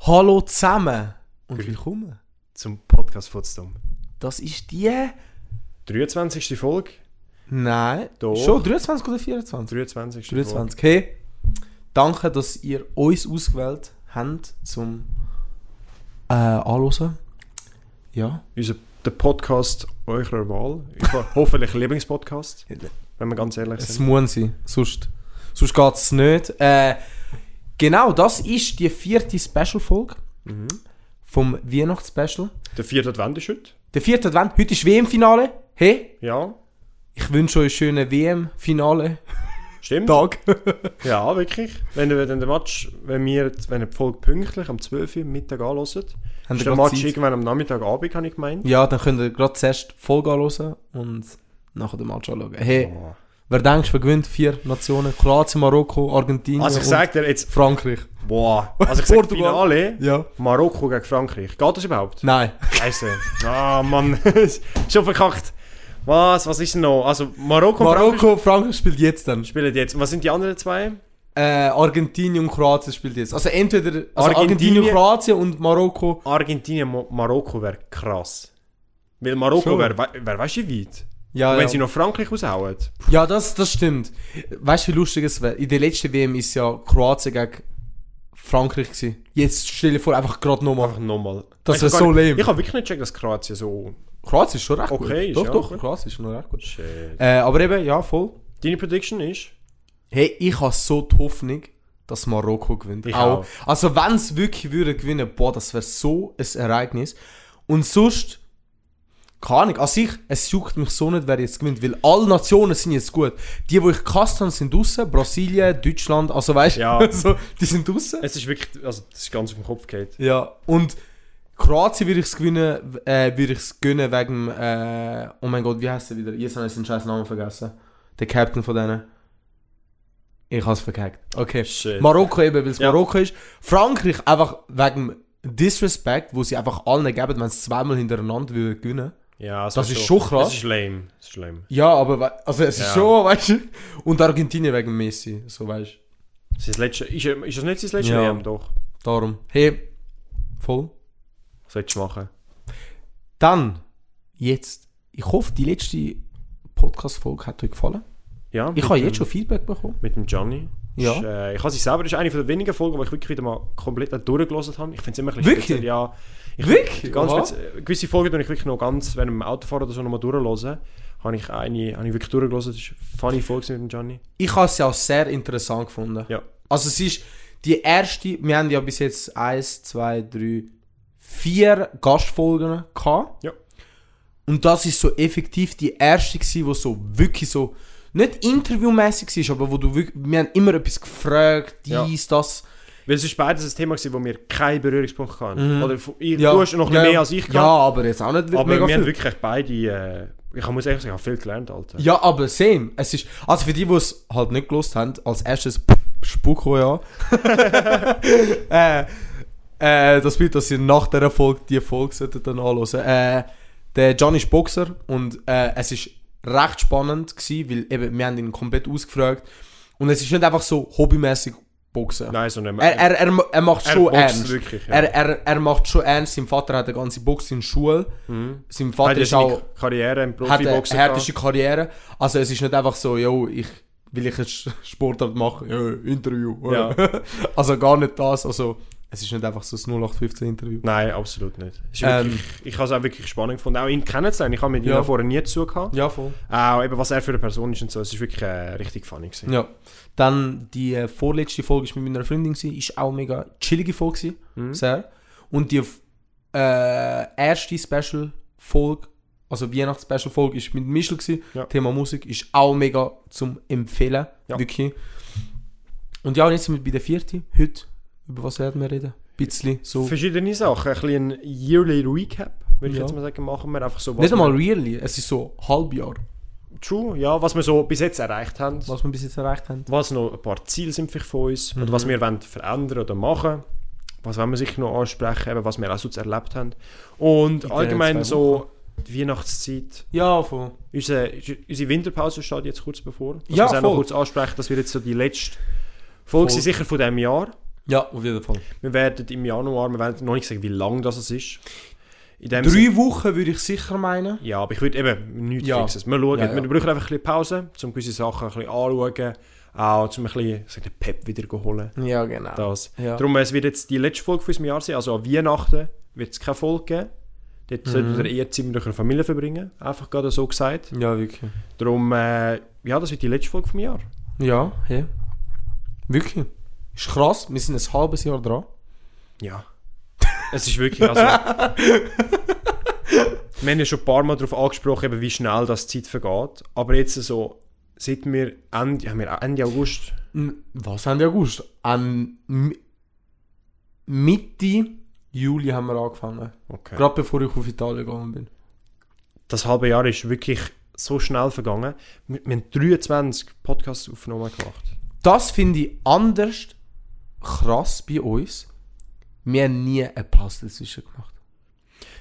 Hallo zusammen und Grüß. willkommen. zum Podcast Potsdam. Das ist die. 23. Folge. Nein. Doch. Schon 23 oder 24? 23. 23. Hey, danke, dass ihr uns ausgewählt habt zum äh, Anhören. Ja. Folge. Unser, der Podcast eurer Wahl. Euer hoffentlich Lieblingspodcast, wenn wir ganz ehrlich Es sind. muss sein. Sonst, sonst geht es nicht. Äh, genau, das ist die vierte Special-Folge Mhm. vom Weihnachtsspecial. Der vierte Advent ist heute. Der vierte Advent. Heute ist WM-Finale. Hey, Ja, ich wünsche euch einen schönen WM-Finale-Tag. stimmt. Ja, wirklich. Wenn ihr dann den Match, wenn wir wenn ihr die Folge pünktlich am 12 Uhr Mittag Haben anhört, ist wir der gerade Match Zeit? irgendwann am Nachmittag Abend, habe ich gemeint. Ja, dann könnt ihr gerade zuerst die Folge anhören und nachher den Match anschauen. Hey, Oh. wer denkst, wer gewinnt? Vier Nationen. Kroatien, Marokko, Argentinien Also ich und sage dir jetzt, Frankreich. boah, also ich sage Portugal. Finale, Ja. Marokko gegen Frankreich. Geht das überhaupt? Nein. Scheiße. Ah, Mann. Schon verkackt. Was? Was ist denn noch? Also, Marokko, und Frankreich Marokko, Frankreich spielt jetzt dann. spielen jetzt. Und Was sind die anderen zwei? Äh, Argentinien und Kroatien spielt jetzt. Also entweder also Argentinien, Argentinien- Kroatien und Marokko. Argentinien, Mo Marokko wäre krass. Weil Marokko Schon. wäre, wär, wär weißt du, wie weit. Ja, Und wenn ja. sie noch Frankreich raushauen. ja das, das stimmt. Weißt du, wie lustig es wäre? In der letzten WM ist ja Kroatien gegen Frankreich gewesen. Jetzt stell dir vor, einfach gerade nochmal. Einfach nochmal. Das Weißt wär du gar so nicht- lame. Ich habe wirklich nicht gecheckt, dass Kroatien so. Kroatien ist schon recht Okay, gut. ist Doch, ja doch, okay. Kroatien ist schon recht gut. Shit. Äh, aber eben, ja, voll. Deine Prediction ist? Hey, ich habe so die Hoffnung, dass Marokko gewinnt. Ich auch. auch. Also wenn es wirklich würde gewinnen, boah, das wäre so ein Ereignis. Und sonst, keine Ahnung, an sich, es juckt mich so nicht, wer jetzt gewinnt, weil alle Nationen sind jetzt gut. Die, die ich gehasst habe, sind draussen. Brasilien, Deutschland, also weißt du, Ja. so, die sind draussen. Es ist wirklich. Also, das ist ganz auf den Kopf geht. Ja, und Kroatien würde ich es gewinnen, äh, würde ich es gönnen wegen, dem, äh, oh mein Gott, wie heißt er wieder? Jetzt habe ich seinen scheiß Namen vergessen. Der Captain von denen. Ich habe es verkackt. Okay. Shit. Marokko eben, weil es Ja. Marokko ist. Frankreich einfach wegen dem Disrespect, wo sie einfach allen geben, wenn sie zweimal hintereinander würden gewinnen. ja, es Das wär ist schon krass. Es ist lame. Es ist lame. Ja, aber we- also es ist Ja. schon, weißt du. Und Argentinien wegen Messi, so weißt du. Sein letzte, ist, er- ist das nicht sein letzte Ja. WM? Doch. Darum. Hey, voll. Was sollst du machen? Dann, jetzt, ich hoffe, die letzte Podcast-Folge hat euch gefallen. Ja, Ich mit habe dem- jetzt schon Feedback bekommen. mit dem Gianni. Ja. Ist, äh, ich habe sie selber, das ist eine von der wenigen Folgen, wo ich wirklich wieder mal komplett durchgelassen habe. Ich finde es immer ein bisschen Wirklich? speziell, Ja, ich, Wirklich? Ganz Aha. spezi- gewisse Folgen tue ich wirklich noch ganz, wenn ich im Auto fahre oder so, nochmal durchlose. Habe ich eine, habe ich wirklich durchgelassen. Das ist eine funny Folge mit dem Gianni. Ich habe sie auch sehr interessant gefunden. Ja. Also es ist die erste, wir haben ja bis jetzt eins, zwei, drei, vier Gastfolgen gehabt. Ja. Und das ist so effektiv die erste gsi, wo so wirklich so, nicht interviewmäßig war, aber wo du wirklich, wir haben immer etwas gefragt, Ja. dies, das. Weil es ist beides ein Thema gewesen, wo wir keinen Berührungspunkt hatten. Oder fu- ich, Mhm. Ja. du hast noch ein bisschen Ja. mehr als ich Ja, aber jetzt auch nicht aber mega wir haben viel. wirklich beide, äh, ich muss ehrlich sagen, ich habe viel gelernt, Alter. Ja, aber same. Es ist, also für die, die es halt nicht gelost haben, als erstes Spuko ja. äh, äh, das Bild, dass ihr nach der Folge die Folge solltet dann anhören. Äh, der Johnny ist Boxer und äh, es ist recht spannend gewesen, weil eben, wir haben ihn komplett ausgefragt und es ist nicht einfach so hobbymäßig Boxen. Nein, so nicht Er, er, er, er macht Er schon boxt ernst. wirklich, ja. er, er, er macht schon ernst. Sein Vater hat eine ganze Box in der Schule. Mhm. Sein Vater hat ja ist auch seine Karriere im hat eine Profiboxen härteste Karriere. Also es ist nicht einfach so, yo, ich will ich jetzt Sportart halt machen, ja, Interview. Ja. Also gar nicht das. Also es ist nicht einfach so das 0815 Interview. Nein, absolut nicht. Es Ist Ähm. wirklich, ich habe es auch wirklich spannend gefunden, auch ihn kennenzulernen. Ich habe mit ihm Ja. auch vorher nie zu tun gehabt. Ja, voll. Auch eben, was er für eine Person ist und so. Es ist wirklich äh, richtig funny gewesen. Ja. Dann die äh, vorletzte Folge war mit meiner Freundin, gewesen, ist auch mega chillige Folge. gewesen, Mhm. Sehr. Und die äh, erste Special-Folge, also Weihnachts-Special-Folge, ist mit Michel. Gewesen. Ja. Thema Musik ist auch mega zum Empfehlen. Ja. Wirklich. Und ja, und jetzt sind wir bei der vierten. Heute, über was werden wir reden? Ein bisschen so. Verschiedene Sachen. Ein bisschen ein Yearly Recap, würde ich Ja. jetzt mal sagen, machen wir einfach so. Was Nicht wir- einmal really, es ist so Halbjahr, True, ja, was wir so bis jetzt erreicht haben. was wir bis jetzt erreicht haben. Was noch ein paar Ziele sind vielleicht von uns. Oder Mhm. was wir wollen verändern oder machen. Was wollen wir sicher noch ansprechen, eben, was wir auch sonst erlebt haben. Und allgemein zwei so die Weihnachtszeit. Ja, voll. Unsere, unsere Winterpause steht jetzt kurz bevor. Dass Ja, wir es auch noch voll. kurz ansprechen, dass wir jetzt so die letzte Folge Voll. sind, sicher von diesem Jahr. Ja, auf jeden Fall. Wir werden im Januar, wir werden noch nicht sagen, wie lang das es ist. In dem Sinne- Drei Wochen würde ich sicher meinen. Ja, aber ich würde eben nichts Ja. fixes. Wir schauen, Ja, ja. wir brauchen einfach ein bisschen Pause, um gewisse Sachen ein bisschen anzuschauen, auch um ein bisschen so den Pep wieder zu holen. Ja, genau. Das. Ja. Darum, es wird jetzt die letzte Folge von unserem Jahr sein, also an Weihnachten wird es keine Folge geben. Dort Mhm. sollten wir eher Zeit mit eurer Familie verbringen, einfach gerade so gesagt. ja, wirklich. Darum, äh, ja, das wird die letzte Folge vom Jahr. Ja, ja. Wirklich. Ist krass, wir sind ein halbes Jahr dran. Ja. es ist wirklich, also... wir haben ja schon ein paar Mal darauf angesprochen, eben, wie schnell das die Zeit vergeht. Aber jetzt so, seit wir Ende, haben wir Ende August... M- Hm, Was haben wir August? An M- Mitte Juli haben wir angefangen. Okay. Gerade bevor ich auf Italien gegangen bin. das halbe Jahr ist wirklich so schnell vergangen. Wir, wir haben 23 Podcast-Aufnahmen gemacht. Das finde ich anders krass bei uns. Wir haben nie eine Pause dazwischen gemacht.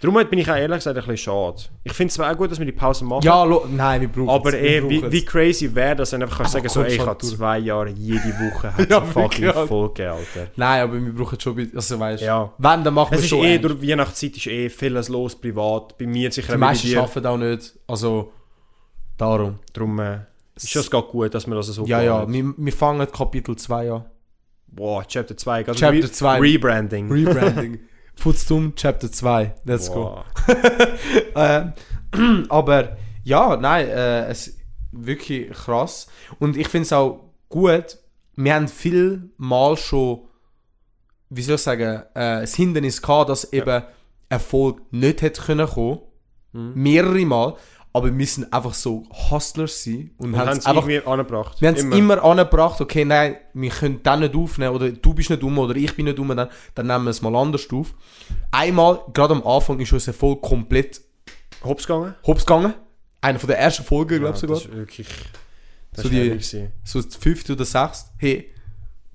Darum bin ich auch ehrlich gesagt ein bisschen schade. Ich finde es zwar auch gut, dass wir die Pause machen, Ja, lo- nein, wir brauchen aber es, wir ey, wie, brauchen wie es. crazy wäre das, wenn du einfach kannst Aber sagen so, komm ey, ich schon, habe du- zwei Jahre jede Woche hat's Ja, eine fucking wirklich, Alter. Folge, Alter. Nein, aber wir brauchen schon... bi- Also weißt du, Ja. wenn, dann machen Es wir ist schon... eh, ernst. durch die Weihnachtszeit ist eh vieles los, privat, bei mir sicher Die auch bei meisten dir. arbeiten auch nicht. Also, darum. Darum äh, ist das gerade gut, dass wir das so Ja, ja, planen. wir, wir fangen Kapitel 2 an. Boah, Chapter 2, also Chapter Re- zwei. Rebranding. Rebranding. Futzum Chapter 2. Let's Boah. go. Ähm, aber ja, nein, äh, es ist wirklich krass. Und ich finde es auch gut, wir haben viel mal schon, wie soll ich sagen, äh, das Hindernis gehabt, dass eben Erfolg nicht hätte können kommen. Mhm. Mehrere Mal. Aber wir sind einfach so Hustlers sein und, Und haben haben es es einfach irgendwie angebracht. Wir haben es immer angebracht, okay, nein, wir können den nicht aufnehmen, oder du bist nicht um, oder ich bin nicht um, dann, dann nehmen wir es mal anders auf. Einmal, gerade am Anfang, ist unser Erfolg komplett Hops gegangen. hops gegangen. Einer von der ersten Folgen, glaube ich sogar. Das ist wirklich. Das So so die- die... So das fünfte oder sechste. Hey,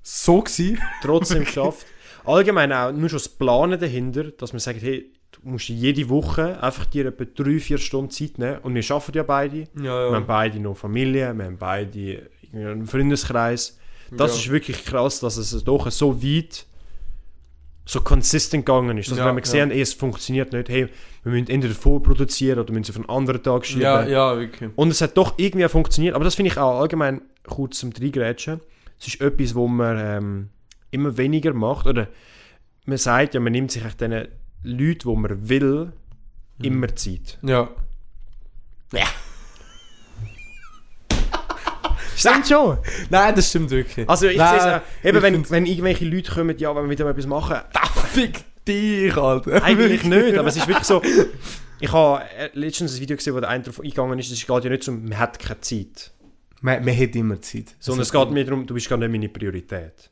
so gsi. Trotzdem geschafft. Allgemein auch nur schon das Planen dahinter, dass man sagt, hey, du musst jede Woche einfach dir etwa drei, vier Stunden Zeit nehmen. Und wir arbeiten ja beide. Wir haben beide noch Familie, wir haben beide irgendwie einen Freundeskreis. Das Ja. ist wirklich krass, dass es doch so weit so consistent gegangen ist. Dass Ja, wenn wir gesehen haben, ey, es funktioniert nicht, hey, wir müssen entweder vorproduzieren oder müssen es auf einen anderen Tag schieben. Ja, ja, wirklich. Und es hat doch irgendwie funktioniert. Aber das finde ich auch allgemein kurz zum Dreigrätschen. Es ist etwas, wo man ähm, immer weniger macht. Oder man sagt ja, man nimmt sich echt diesen Leuten, die man will, Mhm. immer Zeit. Ja. Stimmt schon! Nein, das stimmt wirklich. Also ich sehe Nein, es auch. Eben, ich wenn, find's- wenn irgendwelche Leute kommen, ja, wenn wir mit dem etwas machen, Fick dich, Alter. eigentlich nicht. Aber es ist wirklich so... Ich habe äh, letztens ein Video gesehen, wo der eine darauf eingegangen ist, es geht ja nicht um, man hat keine Zeit. Man, man hat immer Zeit. Sondern es geht mir darum, du bist gar nicht meine Priorität.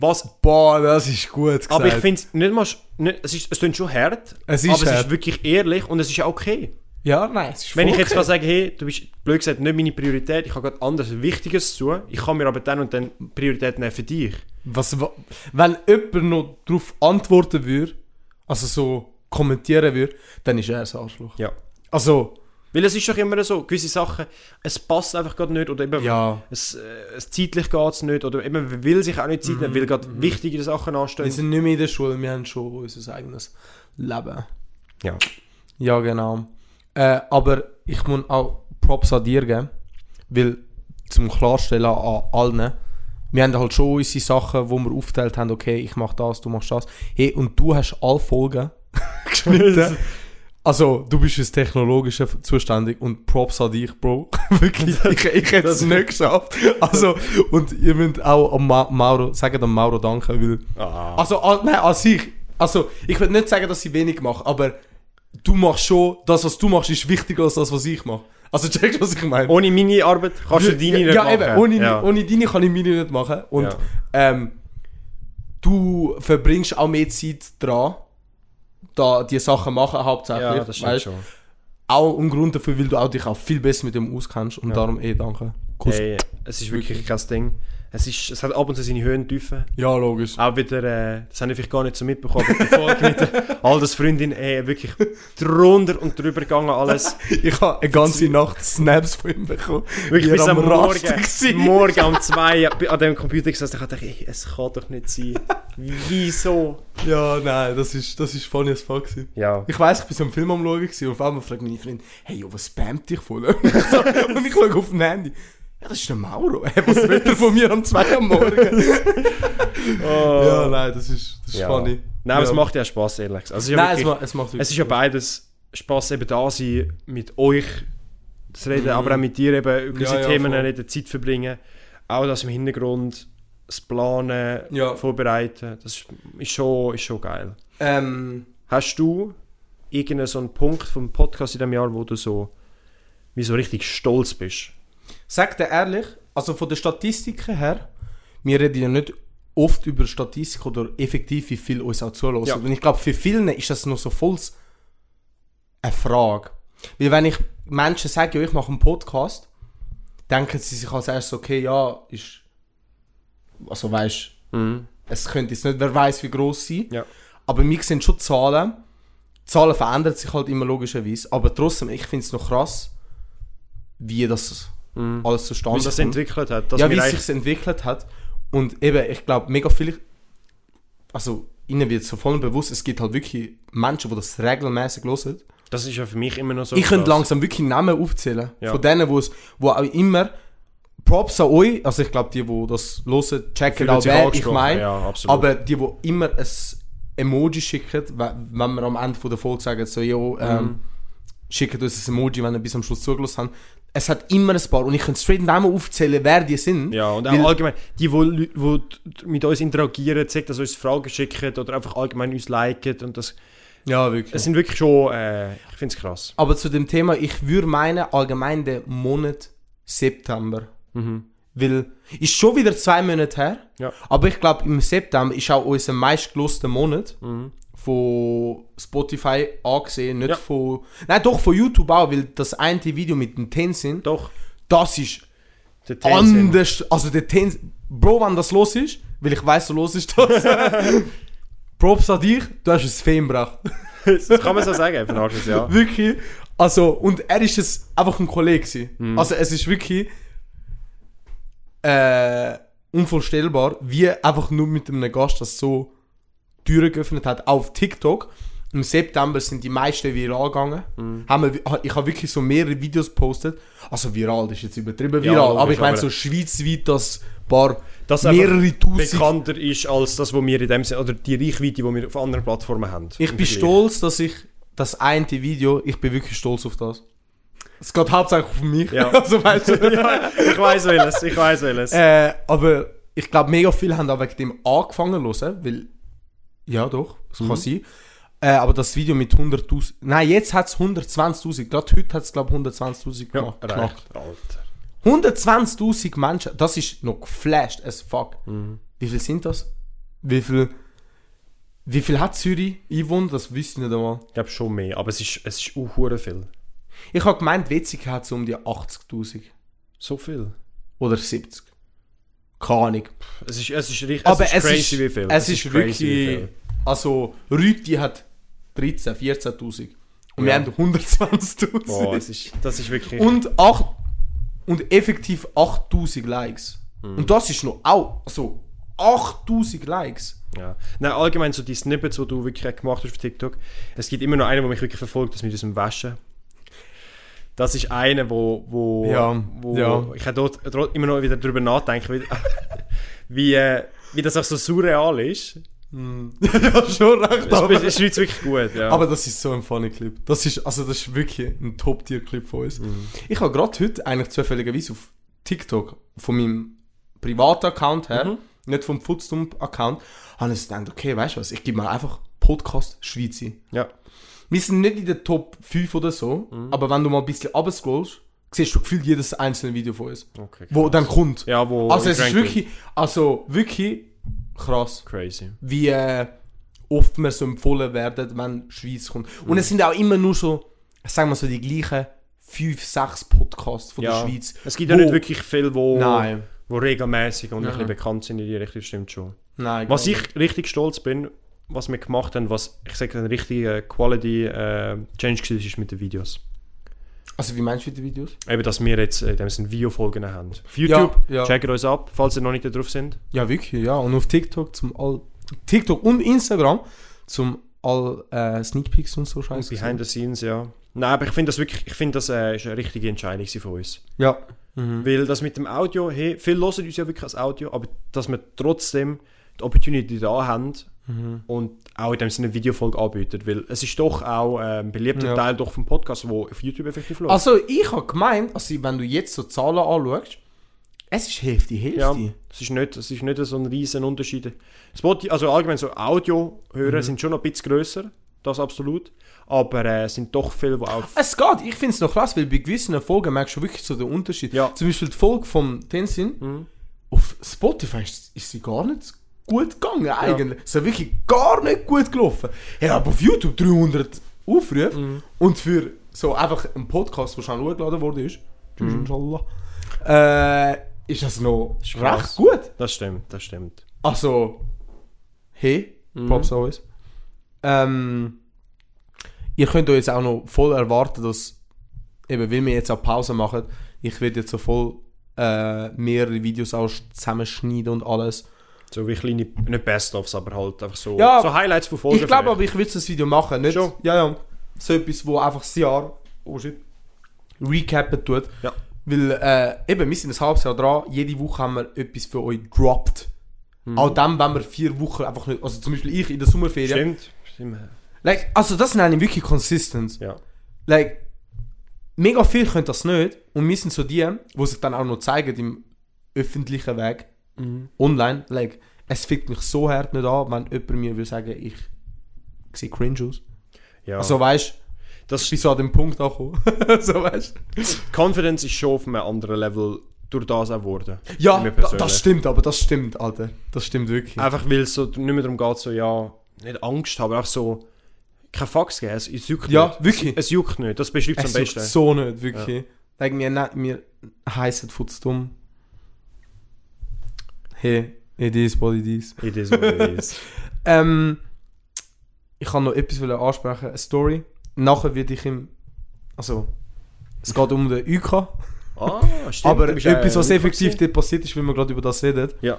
Was Boah, das ist gut gesagt. Aber ich finde es nicht mal. sch- Nicht, es, ist, es klingt schon hart, Es ist aber es hart. ist wirklich ehrlich und es ist ja okay. Ja, nein, es ist Wenn voll ich jetzt okay. kann sagen hey, du bist blöd gesagt nicht meine Priorität, ich habe gerade anderes Wichtiges zu, ich kann mir aber dann und dann Priorität nehmen für dich. Was, wa- wenn jemand noch darauf antworten würde, also so kommentieren würde, dann ist er ein Arschloch. Ja. Also, Weil es ist doch immer so, gewisse Sachen, es passt einfach gerade nicht oder eben ja, es, äh, es zeitlich geht es nicht oder eben man will sich auch nicht Zeit Mhm. nehmen, weil gerade wichtige Sachen wir anstehen. sind nicht mehr in der Schule, wir haben schon unser eigenes Leben. Ja. Ja, genau. Äh, aber ich muss auch Props an dir geben, weil zum Klarstellen an allen, wir haben halt schon unsere Sachen, wo wir aufgeteilt haben, okay, ich mach das, du machst das. Hey, und du hast alle Folgen geschnitten. Also, du bist fürs Technologische f- zuständig und Props an dich, Bro. Wirklich, ich, ich hätte es nicht geschafft. Also, und ihr müsst auch am Ma Mauro, sagen dem Mauro danke, weil Ah. also, al- nein, an sich. Also, ich will nicht sagen, dass ich wenig mache, aber du machst schon, das, was du machst, ist wichtiger als das, was ich mache. Also, checkst du, was ich meine? Ohne meine Arbeit kannst du deine ja, nicht ja, machen. Eben, ohne, ja. ohne deine kann ich meine nicht machen. Und Ja. ähm, du verbringst auch mehr Zeit dran, da die Sachen machen, hauptsächlich. ja, das stimmt weißt? schon. Auch im Grund dafür, weil du auch dich auch viel besser mit dem auskennst und darum eh danke. Kuss. Hey, es ist wirklich kein Ding. Es, ist, es hat ab und zu seine Höhen und Tiefen. Ja, logisch. Auch wieder, äh, das habe ich vielleicht gar nicht so mitbekommen, aber die Folge mit der Altersfreundin, ey, äh, wirklich drunter und drüber gegangen alles. Ich habe eine ganze Nacht Snaps von ihm bekommen. Wirklich Wir bis am am Morgen, Rasten gewesen. morgen um zwei an dem Computer gesessen. Ich dachte, ey, es kann doch nicht sein. Wieso? Ja, nein, das ist, das ist funny as fuck. Gewesen. Ja. Ich weiss, ich bin so am Film am Schauen gewesen, und auf einmal fragt meine Freundin, hey, jo, was spammt dich voll? und ich schaue auf mein Handy. Ja, das ist der Mauro. Hey, was will er von mir am 2 am Morgen? Oh. Ja, nein, das ist, das ist funny. Nein, aber ja. es macht ja Spass, ehrlich gesagt. Also, es ist ja Nein, es, wirklich, ma es macht es ist ja beides Spass, eben da sein, mit euch zu reden, aber auch mit dir eben über diese Mhm. Ja, ja, Themen voll. reden, Zeit verbringen. Auch das im Hintergrund, das Planen, Ja. Vorbereiten, das ist, ist, schon, ist schon geil. Ähm, Hast du irgendeinen so einen Punkt vom Podcast in diesem Jahr, wo du so, wie so richtig stolz bist? sag dir ehrlich, also von den Statistiken her, wir reden ja nicht oft über Statistik oder effektiv, wie viel uns auch zuhören. Ja. Und ich glaube, für viele ist das noch so volls eine Frage. Weil wenn ich Menschen sage, ja, ich mache einen Podcast, denken sie sich als erstes, okay, ja, ist... Also weißt es könnte jetzt nicht, wer weiß wie groß sein. Mhm. Ja. Aber wir sehen schon Zahlen. Die Zahlen verändern sich halt immer logischerweise. Aber trotzdem, ich finde es noch krass, wie das alles Wie zustande sich Mhm. das kommt. entwickelt hat? Dass ja, wir wie es eigentlich- sich entwickelt hat. Und eben, ich glaube, mega viel. Also, ihnen wird so voll bewusst, es gibt halt wirklich Menschen, die das regelmäßig hören. das ist ja für mich immer noch so. Ich könnte krass. langsam wirklich Namen aufzählen. Ja. Von denen, wo es, wo auch immer. Props an euch, also ich glaube, die, die das hören, checken Fühlen auch, sich wer ich angesprochen, meine. Ja, absolut. Aber die, die immer ein Emoji schicken, we- wenn wir am Ende von der Folge sagen, so, Mhm. jo, ähm, schickt uns ein Emoji, wenn ihr bis am Schluss zugelassen habt. Es hat immer ein paar und ich könnte straight Namen aufzählen, wer die sind. Ja, und auch Weil- allgemein, die, die, die mit uns interagieren, zeigt, dass sie uns Fragen schicken oder einfach allgemein uns liken und das, ja wirklich. das sind wirklich schon, äh, ich finde es krass. Aber zu dem Thema, ich würde meinen, allgemein den Monat September. Weil, ist schon wieder zwei Monate her, Mhm. Ja. aber ich glaube, im September ist auch unser meistgeloster Monat von Spotify angesehen, nicht Mhm. Ja. von. Nein, doch von YouTube auch, weil das eine Video mit dem Tenzin, Doch, das ist der Tenzin. anders. Also der Tenzin. Bro, wenn das los ist, weil ich weiß, so los ist das. Props an dich, du hast ein Fame gebracht. Das kann man so sagen, vernarrt es, ja. Wirklich. Also, und er ist es einfach ein Kollege. gewesen. Mhm. Also, es ist wirklich äh, unvorstellbar, wie einfach nur mit einem Gast das so Türen geöffnet hat auf TikTok. Im September sind die meisten viral gegangen. Mhm. Haben wir, ich habe wirklich so mehrere Videos gepostet. Also viral, das ist jetzt übertrieben Ja, viral. aber logisch, ich meine so aber- schweizweit, dass ein paar Dass einfach mehrere tausend Bekannter ist als das, was wir in dem Sinne, oder die Reichweite, die wir auf anderen Plattformen haben. Ich Im bin Vergleich. stolz, dass ich das eine Video, ich bin wirklich stolz auf das. Es geht hauptsächlich auf mich. Ja. Also, weißt du, ja, ich weiß welches, ich weiß welches. äh, aber ich glaube, mega viele haben auch wegen dem angefangen zu hören, weil, ja doch, es Mhm. kann sein. Äh, aber das Video mit 100.000, nein, jetzt hat es 120.000, gerade heute hat es glaube 120.000 ja, gemacht. knackt. recht, Alter. 120.000 Menschen, das ist noch geflasht as fuck. Mhm. Wie viel sind das? Wie viel, wie viel hat Zürich Einwohner? Das wüsste ich nicht einmal. Ich glaube schon mehr, aber es ist, es ist auch hure viel. Ich habe gemeint, Witzig hat so um die 80.000 So viel. oder 70. Keine Ahnung. Es ist, es ist richtig, Aber es ist crazy wie viel. Es ist, crazy, wie wirklich. viel. Also, Rüti hat 13, 14.000. Und wir Ja. haben Boah, 120.000. es ist, das ist wirklich... Und, acht und effektiv 8.000 Likes. Mhm. Und das ist noch auch. Also, 8.000 Likes. Ja. Nein, allgemein so die Snippets, die du wirklich gemacht hast auf TikTok. Es gibt immer noch einen, der mich wirklich verfolgt, das mit diesem Waschen. Das ist einer, wo, wo, Ja, wo ja. ich habe dort, dort immer noch wieder drüber nachdenken, wie, wie, äh, wie das auch so surreal ist. ja, schon recht. Das Aber, ist, ist wirklich gut, ja. aber das ist so ein funny Clip. Das ist, also, das ist wirklich ein Top-Tier-Clip von uns. Mhm. Ich habe gerade heute eigentlich zufälligerweise auf TikTok von meinem privaten Account her, Mhm. nicht vom Footstump-Account, habe ich gedacht, okay, weißt du was, ich gebe mal einfach Podcast Schweiz ein. ja. Wir sind nicht in der Top 5 oder so, Mhm. aber wenn du mal ein bisschen runterscrollst, siehst du gefühlt jedes einzelne Video von uns, Okay. wo dann kommt. ja, wo also es ist ranken. wirklich, also wirklich krass crazy. wie äh, oft wir so empfohlen werden, wenn Schweiz kommt. Und Mhm. es sind auch immer nur so, sagen wir so, die gleichen 5, 6 Podcasts von Ja. der Schweiz. Es gibt ja wo- nicht wirklich viel, wo, Nein. die regelmäßig und Ja. ein bisschen bekannt sind in die Richtung, stimmt schon. Nein, Was gar ich richtig stolz bin, was wir gemacht haben, was ich sage, ein richtiger Quality-Change gewesen ist mit den Videos. nicht. Also, wie meinst du die Videos? Eben, dass wir jetzt äh, in dem Sinne Videofolgen haben. Auf YouTube, Ja, ja. checkt uns ab, falls ihr noch nicht da drauf sind. Ja, wirklich, ja. Und auf TikTok zum all TikTok und Instagram zum all äh, Sneakpeaks und so Und Scheiße. behind the scenes, ja. Nein, aber ich finde das wirklich, ich finde das äh, ist eine richtige Entscheidung gewesen von uns. Ja. Mhm. Weil das mit dem Audio, hey, viele hören uns ja wirklich als Audio, aber dass wir trotzdem die Opportunity da haben Mhm. und auch in dem Sinne eine Videofolge anbieten. Weil es ist doch auch äh, ein beliebter Ja. Teil doch vom Podcast, wo auf YouTube effektiv läuft. Also, ich habe gemeint, also, wenn du jetzt so Zahlen anschaust, es ist Hälfte, Hälfte. Ja, es ist nicht, es ist nicht so ein riesen Unterschied. Spotify, also allgemein so Audio hören Mhm. sind schon noch ein bisschen grösser, das absolut, aber äh, es sind doch viele, die auch... Es geht, ich finde es noch krass, weil bei gewissen Folgen merkst du wirklich so den Unterschied. Ja. Zum Beispiel die Folge vom Tenzin Mhm. auf Spotify ist, ist sie gar nicht gut gegangen eigentlich. Es ist wirklich gar nicht gut gelaufen. Ja, aber auf YouTube 300 Aufrufe Mhm. und für so einfach einen Podcast, der schon hochgeladen worden ist, Mhm. tschüss inshallah, äh, ist das noch recht krass. gut. Das stimmt, das stimmt. Also, hey, Mhm. Props always. Ähm, ihr könnt euch jetzt auch noch voll erwarten, dass, eben, weil wir jetzt auch Pause machen, ich werde jetzt so voll äh, mehrere Videos auch zusammenschneiden und alles. So wie kleine, nicht Best-ofs, aber halt einfach so, Ja, so Highlights von Folgen. ich glaube vielleicht. aber, ich würde das Video machen, nicht? Schon. Ja, ja. So etwas, wo einfach das Jahr oh shit, recappen tut. Ja. Weil äh, eben, wir sind ein halbes Jahr dran, jede Woche haben wir etwas für euch gedroppt. Mhm. Auch dann, wenn wir vier Wochen einfach nicht, also zum Beispiel ich in der Sommerferien, Stimmt, stimmt. Like, also das nenne ich wirklich consistent. Ja. Like, mega viel können das nicht. Und wir sind so die, die sich dann auch noch zeigen im öffentlichen Weg, Mhm. online. Like, es fickt mich so hart nicht an, wenn jemand mir will sagen, ich sehe cringe aus. ja. Also weißt du, das, ich bin so an dem Punkt angekommen. so weißt du. Confidence ist schon auf einem anderen Level durch das auch geworden. Ja, Mir da, persönlich. Äh, das stimmt, aber das stimmt, Alter. Das stimmt wirklich. Einfach weil es so nicht mehr darum geht, so, ja, nicht Angst haben, aber auch so, kein Fax geben, es, es juckt ja, nicht. wirklich. Es juckt nicht, das beschreibt es Es am juckt besten. so nicht, wirklich. Like, wir, ne- wir heissen Futz dumm. Hey, it is what it is. It is what it is. Ähm, ich kann noch etwas wollen ansprechen, eine Story. Nachher werde ich im... Also, es geht um den UK. ah, stimmt. aber du bist, äh, etwas, was Lukas effektiv gewesen. dort passiert ist, weil wir gerade über das reden. Ja.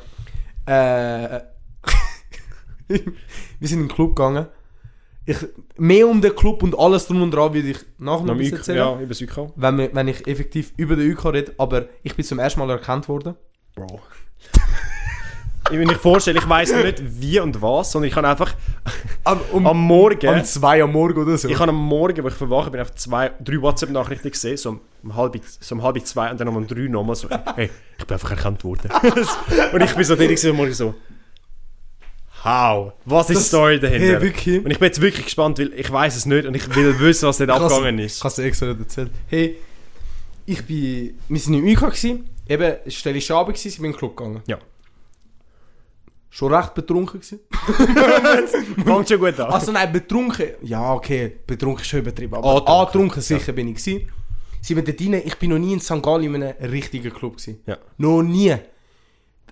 Äh, wir sind in den Club gegangen. Ich, mehr um den Club und alles drum und dran würde ich nachher noch Noch ein bisschen Ük, erzählen ja, über Sykal. wenn, wir, wenn ich effektiv über den UK rede, aber ich bin zum ersten Mal erkannt worden. Bro. ich will nicht vorstellen, ich weiß nicht wie und was, sondern ich kann einfach Am, um, am Morgen, um zwei am Morgen oder so. ich habe am Morgen, wo ich verwache, bin, einfach zwei, drei WhatsApp-Nachrichten gesehen, so um, um halb, so um halb zwei und dann um drei nochmal so, hey, ich bin einfach erkannt worden. und ich bin so tätig am Morgen so, how? Was ist die Das- Story dahinter? hey, wirklich? Und ich bin jetzt wirklich gespannt, weil ich weiß es nicht und ich will wissen, was dort Krass. abgegangen Ich ist. habe es extra nicht erzählt. Hey, ich bin... Wir sind im UK. Gewesen. Eben, es war schon Abend, gewesen, ich bin in den Club gegangen. Ja. Schon recht betrunken gewesen. Fängt schon gut an. Also nein, betrunken... Ja, okay, betrunken ist schon übertrieben. Aber Antrunken. antrunken, sicher bin ich gewesen. Sie sind dort rein, ich bin noch nie in St. Gallen in einem richtigen Club gewesen. Ja. Noch nie.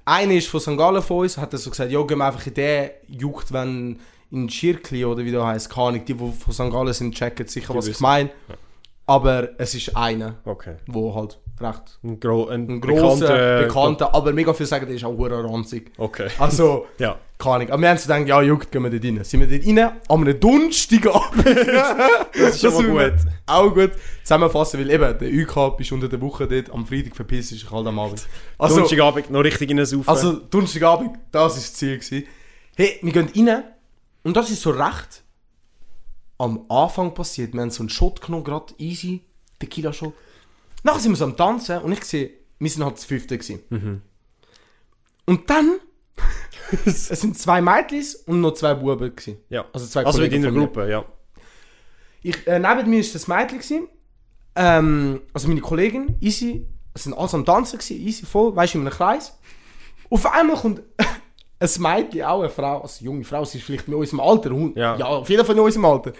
Einer ist von St. Gallen von uns, hat er so gesagt, ja, gehen wir einfach in den juckt, wenn in Schirkli oder wie der heisst, keine Ahnung, die, die von St. Gallen sind, checken sicher, was ich wissen. meine. Aber es ist einer, Okay. wo halt recht Ein, gro eh, ein, ein bekannter- großer, bekannter, aber mega viel sagen, der ist auch hure ranzig. Okay. Also, Ja. keine Ahnung. Aber wir haben so gedacht, ja, juckt, gehen wir dort rein. Sind wir dort rein, an einem Donnerstagabend. Das ist schon mal gut. Auch gut zusammenfassen, weil eben, der UK bist unter der Woche dort, am Freitag verpisst ist halt am Abend. Also, Donnerstagabend noch richtig in den Saufen. also Donnerstagabend, das war das Ziel. Gewesen. Hey, wir gehen rein und das ist so recht am Anfang passiert. Wir haben so einen Shot genommen, gerade easy, Tequila-Shot. Nachher sind wir so am Tanzen und ich sehe, wir sind halt das Fünfte gewesen. Und dann, es sind zwei Mädels und noch zwei Buben gewesen. ja. also zwei also in Kollegen deiner von mir. Gruppe, ja. Ich, äh, neben mir war das Mädchen. Gewesen. Ähm, also meine Kollegin, easy. Es sind alles am Tanzen, gewesen, easy voll, weißt du, in einem Kreis. Auf einmal kommt ein Mädchen, auch eine Frau, also junge Frau, sie ist vielleicht in unserem Alter, hun- Ja. ja auf jeden Fall in unserem Alter.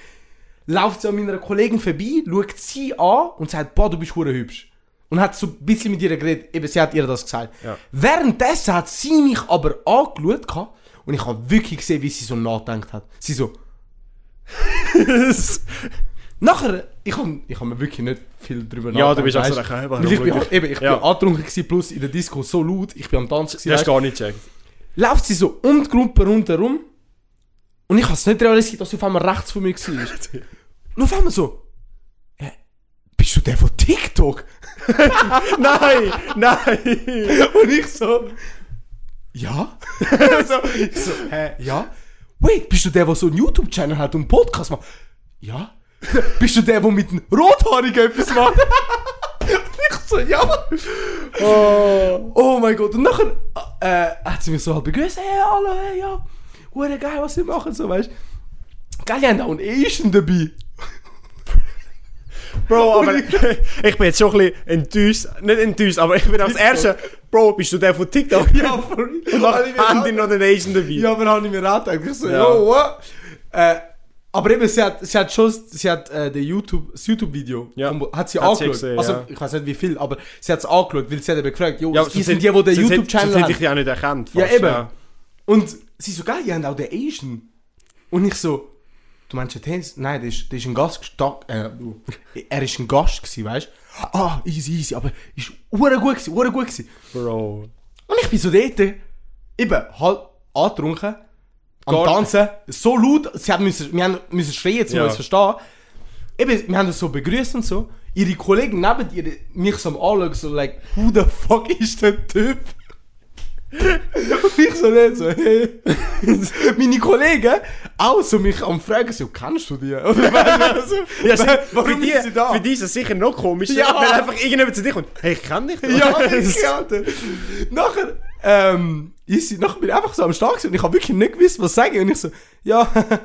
Läuft sie an meiner Kollegin vorbei, schaut sie an und sagt, boah, du bist hure hübsch. Und hat so ein bisschen mit ihr geredet, eben sie hat ihr das gesagt. Ja. Währenddessen hat sie mich aber angeschaut gehabt und ich habe wirklich gesehen, wie sie so nachgedacht hat. Sie so... Nachher, ich habe ich hab mir wirklich nicht viel drüber Ja, du bist auch so weißt ein Weil ich bin, Kerl, eben, ich Ja. bin angetrunken gewesen, plus in der Disco so laut, ich bin am Tanzen Du hast gewesen. gar nicht gecheckt. Läuft sie so um die Gruppe rundherum und ich habe es nicht realisiert, dass sie auf einmal rechts von mir war. Und auf einmal so, «Hä, bist du der von TikTok? nein! Nein! Und ich so, ja? so, ich so, hä, ja? Wait, bist du der, der so einen YouTube-Channel hat und einen Podcast macht? Ja? Bist du der, der mit einem Rothaarigen etwas macht? Und ich so, ja. Oh. Oh mein Gott. Und nachher äh, hat sie mich so halt begrüßt, hey, hallo, hey, ja. Hure geil, was sie machen, so, weißt du. Geil, die haben auch einen Asian dabei. Bro, aber ich bin jetzt schon ein bisschen enttäuscht. Nicht enttäuscht, aber ich bin als Erste. Bro, bist du der von TikTok? Ja, for real. Und dann haben die noch den Asian dabei. Ja, aber habe ich mir auch gedacht. Ich so, Ja. yo, what? Äh, aber eben, sie hat, sie hat schon, sie hat äh, der YouTube, das YouTube-Video, Ja. vom- hat sie Hat sie angeschaut. gesehen, also, ja. ich weiß nicht wie viel, aber sie hat es angeschaut, weil sie hat eben gefragt, jo, Ja, die sonst hätte- sind die, die den sonst hätte- Sonst YouTube-Channel hätte ich haben. dich auch nicht erkannt. Ja, fast, eben. Und sie so, geil, die haben auch den Asian. Und ich so, du meinst den Tennis? Nein, der ist, der ist ein Gast gestack, äh, du. er ist ein Gast gewesen, weißt du? Ah, easy, easy, aber ist hure gut gewesen, hure gut gewesen. Bro. Und ich bin so dort, eben, halb angetrunken, am Gar- Tanzen, so laut, sie haben müssen, wir haben müssen schreien, um Ja. uns zu verstehen. Eben, wir haben das so begrüßt und so. Ihre Kollegen neben ihr, mich so am Anschauen, so like, who the fuck ist der Typ? und ich so nicht so, hey. Meine Kollegen auch so mich am fragen, so, kennst du die? Oder weißt du, so, Ja, stimmt. warum für die, ist sie da? Für die ist das sicher noch komisch, Ja. wenn einfach irgendjemand zu dir kommt. Hey, ich kenn dich. Ja, wirklich, Alter. Nachher, ähm, ich, sie- nachher bin ich einfach so am Start gewesen und ich habe wirklich nicht gewusst, was sagen. Und ich so, ja.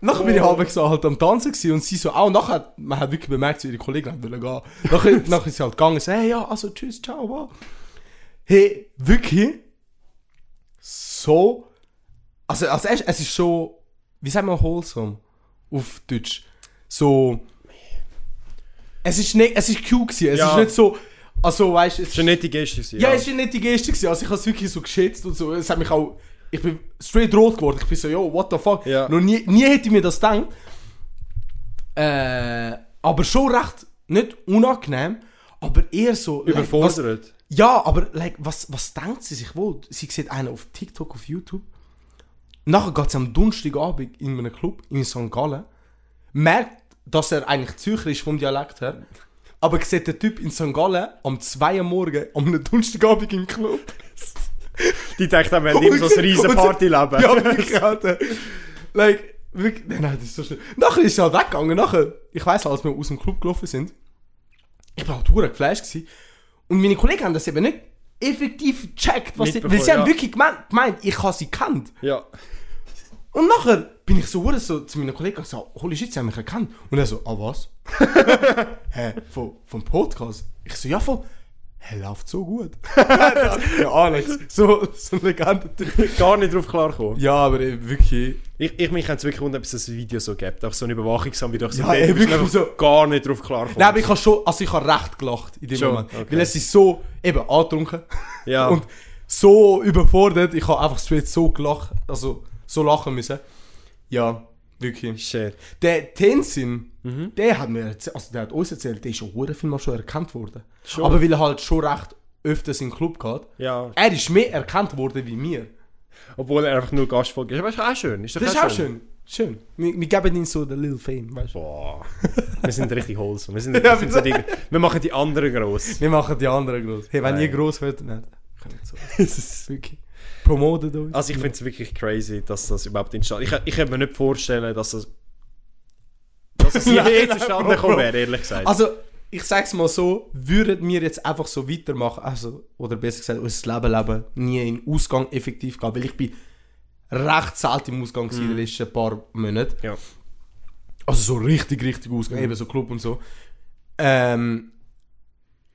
nachher bin ich halb so halt am Tanzen gewesen und sie so, auch nachher, man hat wirklich bemerkt, so ihre Kollegen haben wollen gehen. Nachher, nachher ist sie halt gegangen und so, hey, ja, also tschüss, ciao, wow. Hey, wirklich, so, also, also es, es ist schon, wie sagt man wholesome auf Deutsch? So, es ist nicht, es ist cute gewesen, es Ja. ist nicht so, also weißt du, es Das war nicht die Geste. gewesen, ja, es war nicht die Geste. Gewesen. Also ich habe es wirklich so geschätzt und so. Es hat mich auch... Ich bin straight rot geworden. Ich bin so, yo, what the fuck. Ja. Noch nie, nie hätte ich mir das gedacht. Äh, aber schon recht, nicht unangenehm, aber eher so... like, was, Überfordert. ja, aber like, was, was denkt sie sich wohl? Sie sieht einen auf TikTok, auf YouTube. Nachher geht sie am Donnerstagabend in einem Club in St. Gallen. Merkt, dass er eigentlich Zürcher ist vom Dialekt her. Aber sieht den Typ in St. Gallen am 2 Uhr morgen am Donnerstagabend im Club. Die denkt auch, wir haben immer so ein riesen Und- Partyleben. Ja, wirklich, Alter. Like, wirklich, nein, nein, das ist so schlimm. Nachher ist sie halt weggegangen, nachher, ich weiss, als wir aus dem Club gelaufen sind, ich war halt verdammt geflasht gewesen. Und meine Kollegen haben das eben nicht effektiv gecheckt, was sie, weil Mitbekommen, sie haben ja. wirklich gemeint, gemeint, ich habe sie gekannt. Ja. Und nachher bin ich so, verdammt so zu meinen Kollegen und gesagt, holy shit, sie haben mich erkannt. Und er so, ah was? Hä, vom, vom Podcast? Ich so, ja voll. Hä, läuft so gut. ja, Alex, so, so ein legender Typ. Gar nicht drauf klarkommen. Ja, aber eben wirklich... Ich, ich mich es wirklich wundern, ob es das Video so gibt. Auch so eine Überwachungsam, wie du so Ja, dort ey, bist, wirklich einfach so. gar nicht drauf klarkommen. Nein, aber ich habe schon, also ich habe recht gelacht in dem Schon, Moment. okay. Weil es ist so, eben, angetrunken. Ja. Und so überfordert, ich habe einfach straight so gelacht, also so lachen müssen. Ja, wirklich. Shit. Mhm. Der Tenzin, der hat mir, erzäh- also der hat uns erzählt, der ist schon hure viel mal schon erkannt worden. Schon? Aber weil er halt schon recht öfters in den Club geht. Ja. Er ist mehr erkannt worden wie mir. Obwohl er einfach nur Gastfolge ist. Aber ist auch schön. Ist doch Das ist auch schön. Schön. Wir, wir geben ihm so den Little Fame, weißt du. Boah. Wir sind richtig wholesome. Wir, sind, wir, sind so die, wir machen die anderen gross. Wir machen die anderen groß. Hey, wenn Nein. ihr groß werdet, nein. Kann nicht so. Das ist wirklich. Promotet uns. Also ich finde es wirklich crazy, dass das überhaupt entstanden Ich, ich könnte mir nicht vorstellen, dass das... Dass das Nein, je nein, zustande Bro, gekommen Bro. wäre, ehrlich gesagt. Also, ich sag's mal so, würden wir jetzt einfach so weitermachen, also, oder besser gesagt, unser Leben leben, nie in Ausgang effektiv gehen, weil ich bin recht selten im Ausgang gewesen in den letzten paar Monaten. ja. Also so richtig, richtig Ausgang, eben so Club und so. Ähm,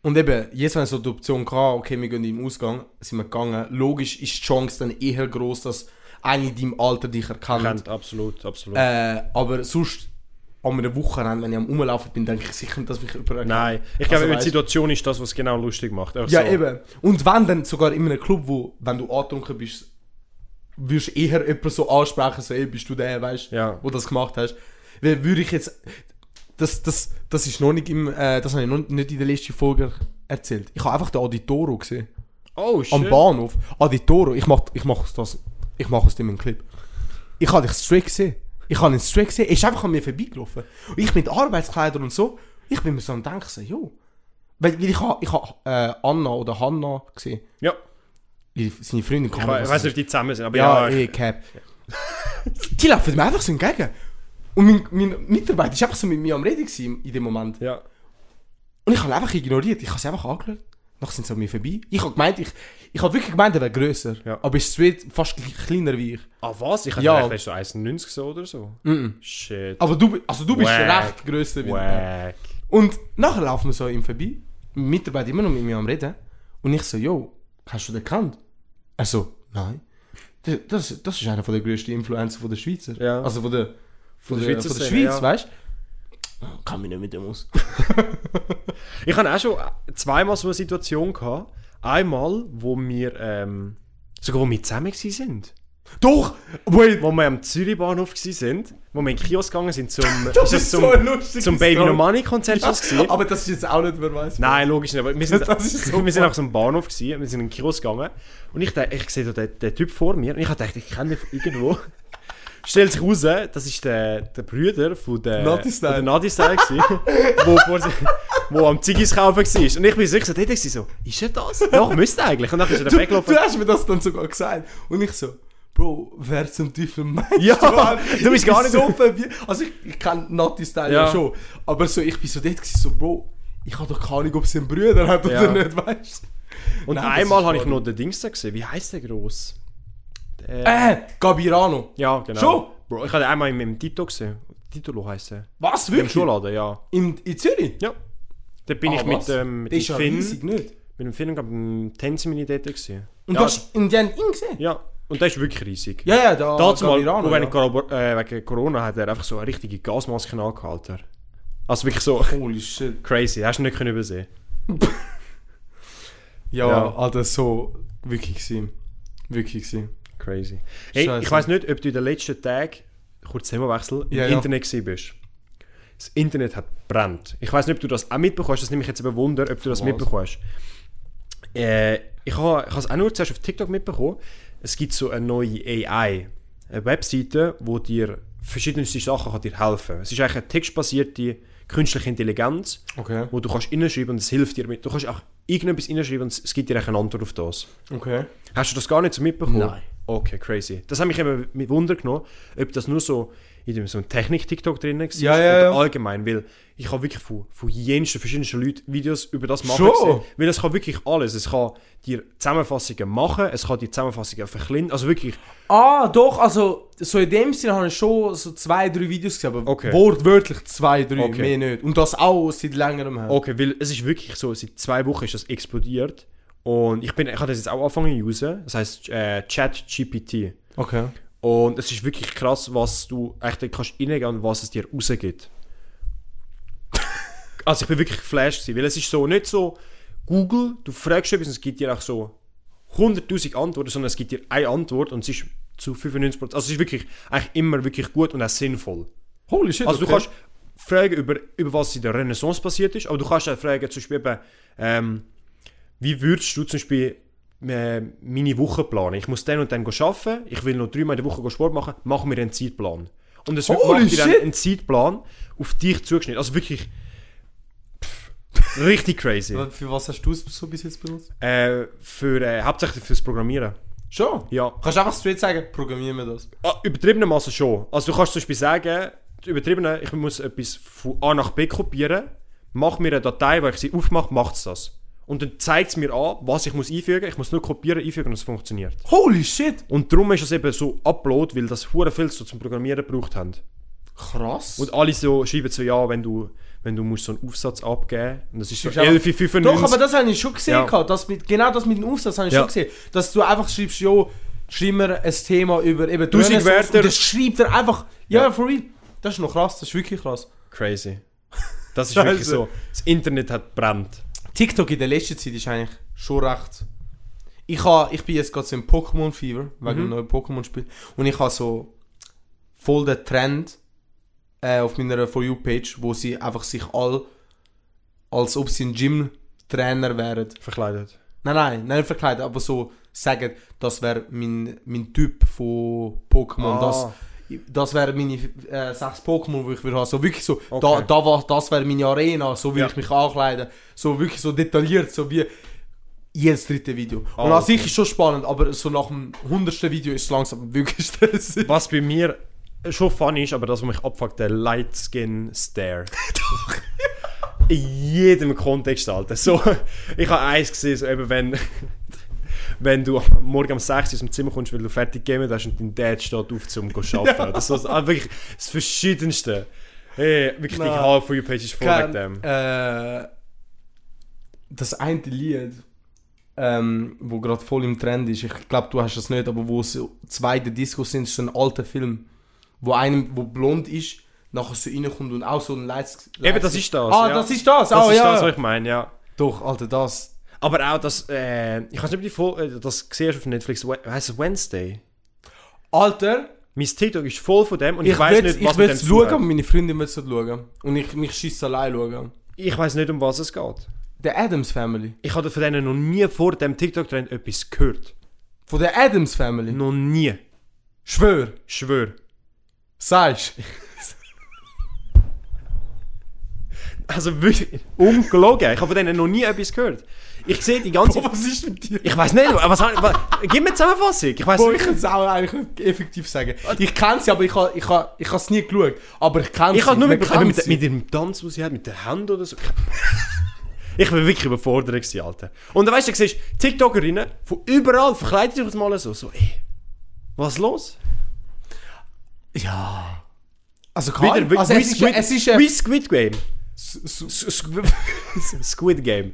und eben, jetzt wenn so die Option hatte, okay, wir gehen im Ausgang, sind wir gegangen, logisch ist die Chance dann eher groß, dass eine in deinem Alter dich erkannt. Kennt, absolut, absolut. Äh, aber sonst an einem Wochenende, wenn ich am Umlaufen bin, denke ich sicher, nicht, dass mich jemand erkennt. Nein, ich Also glaube, die weißt- Situation ist das, was es genau lustig macht. Einfach Ja, so. eben. Und wenn dann sogar in einem Club, wo, wenn du angetrunken bist, würdest du eher jemanden so ansprechen, so, ey, bist du der, weißt du, Ja. wo das gemacht hast. Weil würde ich jetzt. Das, das, das ist noch nicht im. Äh, das habe ich noch nicht in der letzten Folge erzählt. Ich habe einfach den Auditoro gesehen. Oh, shit. Am Bahnhof. Auditoro, ich mache ich mach das. Ich mache aus dem einen Clip. Ich habe dich straight gesehen. Ich habe ihn straight gesehen. Er ist einfach an mir vorbeigelaufen. Und ich mit Arbeitskleidern und so. Ich bin mir so am Denken, so, jo. Weil, weil ich habe ich hab, äh, Anna oder Hanna gesehen. Ja, Die- Seine Freundin ich kann weiß nicht, ob die zusammen sind, aber Ja, ja. eh, Cap. Die laufen mir einfach so entgegen. Und mein, mein Mitarbeiter war einfach so mit mir am Reden gewesen in dem Moment. ja. Und ich habe ihn einfach ignoriert. Ich habe sie einfach angeschaut. Nachher sind sie an mir vorbei. Ich habe gemeint, ich, ich habe wirklich gemeint, er wäre grösser. Ja. Aber ist straight fast gl- kleiner wie ich. Ah, was? Ich hätte Ja. gedacht, du hast so 1,90 gesehen oder so. Shit. Aber du, bi- also du bist Wack. recht grösser wie ich. Wack. Und nachher laufen wir so ihm vorbei. Mein Mitarbeiter immer noch mit mir am Reden. Und ich so, yo, hast du den gekannt? Er so, nein. Das, das, das ist einer von der grössten Influencer von der Schweizer. Ja. Also von der, von der der, Schweizer von der Szene, Schweiz, ja. weißt du? Kann mich nicht mit dem aus. Ich hatte auch schon zweimal so eine Situation. Gehabt. Einmal, wo wir, ähm, sogar wo wir zusammen waren. Doch! Wait! Wo wir am Zürich-Bahnhof waren, wo wir in den Kiosk gegangen sind zum, Das es ist so eine lustige zum Baby Story. No Money Konzert. Ja, Aber das ist jetzt auch nicht, wer weiß. Nein, logisch nicht. Aber wir sind, Das ist so wir sind auch so am Bahnhof gewesen, wir sind in den Kiosk gegangen und ich dachte, ich sehe da den, den Typ vor mir und ich dachte, ich kenne den von irgendwo. Stellt sich raus, das ist der, der Bruder von der Nadi von Style. der Nadi Style gewesen, wo, vor, wo am Ziggis kaufen war. Und ich bin sicher, so, dort gewesen, so, ist er das? Doch, müsste eigentlich. Und dann ist er dann Du, du weggelaufen. hast mir das dann sogar gesagt. Und ich so, Bro, wer zum Teufel meinst Ja, Mann? du bist Ich gar bin nicht- so verwirrt. Also ich, ich kenne Nati Style ja. Ja. schon. Aber so, ich bin so dort gewesen, so, Bro, ich habe doch keine Ahnung, ob es ein Bruder hat oder Ja. nicht, weißt du? Und Nein, das einmal ist habe ich wahr. noch den Dings da gesehen. Wie heißt der gross? Der, Äh, Gabirano. ja, genau. schon? Bro, ich habe den einmal mit dem Tito gesehen. Titolo heisst er. Was, Im wirklich? Schuhladen, ja. In, in Zürich? Ja. Da bin ich mit, ähm, mit dem dem ist ja Finn. riesig, nicht? Mit dem Finn und dem Tänzermini dort. Gewesen. Und ja, du hast in den ihn gesehen? ja, und der ist wirklich riesig. Ja, ja, da Dazu mal, und wenn ja. ich Corona- äh, wegen Corona hat er einfach so eine richtige Gasmaske angehalten. Also wirklich so Holy shit. crazy, hast du nicht können übersehen. Ja, Ja. Alter, so wirklich gewesen. Wirklich gewesen. Crazy. Hey, ich Scheiße. weiss nicht, ob du in den letzten Tagen, kurz Themawechsel, im Ja, ja. Internet gewesen bist. Das Dus Internet hat brennt. Ich weiss nicht, ob du das auch mitbekommen hast, das nehme ich jetzt eben Wunder, ob du das Was? mitbekommen hast. Äh, ich habe ich habe es auch nur zuerst auf TikTok mitbekommen. Es gibt so eine neue AI, eine Webseite, wo dir verschiedenste Sachen kann dir helfen kann. Es ist eigentlich eine textbasierte künstliche Intelligenz, Okay. wo du kannst reinschreiben und es hilft dir mit. Du kannst auch irgendetwas reinschreiben und es gibt dir eigentlich eine Antwort auf das. Okay. Hast du das gar nicht so mitbekommen? Nein. Okay, crazy. Das hat mich eben mit Wunder genommen, ob das nur so in dem so einem Technik-TikTok drin war Ja, ja, oder ja. allgemein, weil ich habe wirklich von, von jensten verschiedensten Leuten Videos über das machen Schon? gesehen. Weil es kann wirklich alles. Es kann dir Zusammenfassungen machen, es kann die Zusammenfassungen verkleinern, also wirklich, Ah, doch, also so in dem Sinne habe ich schon so zwei, drei Videos gesehen, aber Okay. wortwörtlich zwei, drei, Okay. mehr nicht. Und das auch seit längerem her. okay, weil es ist wirklich so, seit zwei Wochen ist das explodiert und ich, bin, ich habe das jetzt auch angefangen zu usen, das heisst äh, ChatGPT. Okay. Und es ist wirklich krass, was du echt dann kannst reingehen und was es dir rausgibt. also ich bin wirklich geflasht gewesen, weil es ist so, nicht so Google, du fragst etwas und es gibt dir auch so 100'000 Antworten, sondern es gibt dir eine Antwort und es ist zu 95%, also es ist wirklich eigentlich immer wirklich gut und auch sinnvoll. Holy shit. Also du okay. kannst fragen, über, über was in der Renaissance passiert ist, aber du kannst auch fragen, zum Beispiel eben, ähm, wie würdest du zum Beispiel äh, meine Woche planen? Ich muss dann und dann arbeiten, ich will noch dreimal in der Woche go Sport machen, mach mir einen Zeitplan. Und es Holy macht dir dann shit! einen Zeitplan auf dich zugeschnitten. Also wirklich pff, richtig crazy. Aber Für was hast du es so bis jetzt benutzt? äh, für, äh, hauptsächlich fürs Programmieren. Schon? Ja. Kannst du einfach straight sagen, programmieren wir das. Ah, übertriebenermaßen schon. Also du kannst zum Beispiel sagen, übertrieben, ich muss etwas von A nach B kopieren, mach mir eine Datei, wo ich sie aufmache, macht es das. Und dann zeigt es mir an, was ich muss einfügen muss. Ich muss nur kopieren, einfügen und es funktioniert. Holy shit. Und darum ist es eben so Upload, weil das hure viel so zum Programmieren gebraucht haben. Krass. Und alle so schreiben so, ja, wenn du, wenn du musst so einen Aufsatz abgeben und das ist so Schreibst einfach- 11,95. Doch, aber das habe ich schon gesehen. Ja. gehabt, Das mit, genau das mit dem Aufsatz habe ich Ja. schon gesehen. Dass du einfach schreibst, jo, schreib mir ein Thema über eben die 1000 Renaissance Wörter. Und das schreibt er einfach. Ja, Ja. for real. Das ist noch krass, das ist wirklich krass. Crazy. Das ist wirklich Also. so. Das Internet hat brennt. TikTok in der letzten Zeit ist eigentlich schon recht. Ich, ha, ich bin jetzt gerade so im Pokémon-Fever, wegen dem neuen Pokémon-Spiel. Und ich habe so voll den Trend äh, auf meiner For You-Page, wo sie einfach sich all als ob sie ein Gym-Trainer wären. Verkleidet. Nein, nein, nein, verkleidet, aber so sagen, das wäre mein, mein Typ von Pokémon. Das, Ah. das wären meine äh, sechs Pokémon, die ich würde haben. So wirklich so, da, Okay. da war, das wäre meine Arena, so würde Ja. ich mich ankleiden. So wirklich so detailliert, so wie jedes dritte Video. Und Ah, an sich okay. ist schon spannend, aber so nach dem hundertsten Video ist es langsam wirklich stressig. Was bei mir schon funny ist, aber das, was mich abfuckt, der Light Skin Stare. In jedem Kontext, Alter. So, ich habe eins gesehen, so eben wenn, wenn du am morgen um 6 Uhr aus dem Zimmer kommst, weil du fertig gegeben hast und dein Dad steht auf, um zu arbeiten. Das ist so, ah, wirklich das Verschiedenste. Hey, wirklich, die Nein. halbe von page ist voll Kein- mit dem. äh, das eine Lied, ähm, wo gerade voll im Trend ist, ich glaube, du hast es nicht, aber wo so zwei der Discos sind, ist so ein alter Film, wo einem, wo blond ist, nachher so reinkommt und auch so ein Lights... Eben, das ist das. Ah, ja. das ist das, Das oh, ist ja. das, was ich meine, ja. Doch, Alter, das... Aber auch das, äh, ich weiß nicht, ob die Fol- äh, das gesehen hast auf Netflix, we- heisst es Wednesday? Alter, Mein TikTok ist voll von dem und ich, ich, weiß will, nicht, was ich mit will dem es zu tun schauen, hat. aber meine Freundin will es nicht schauen. Und ich mich schiss allein schauen. Ich weiß nicht, um was es geht. Der Adams Family. Ich habe von denen noch nie vor dem TikTok-Trend etwas gehört. Von der Adams Family. Noch nie. Schwör, Schwör. sagst Also wirklich, ungelogen. Ich habe von denen noch nie etwas gehört. Ich sehe die ganze... was ist mit dir? Ich weiß nicht, was, was, was... Gib mir eine Zusammenfassung. Ich weiß Boah, nicht. ich kann es auch eigentlich nicht effektiv sagen. Ich kenne sie, aber ich habe ich ha, ich es nie geschaut. Aber ich kenne sie. Ich habe nur Man mitbekommen, kennt mit, sie. mit ihrem Tanz, den sie hat, mit den Händen oder so. ich war wirklich überfordert, gewesen, Alter. Und dann weißt du, du siehst TikTokerinnen von überall verkleidet sich das mal so. So, ey, was ist los? Ja. Also, Wieder, kann wie- also wie es, ist, Squid, es ist ein. wie Squid Game. S- S- Squ- Squid Game.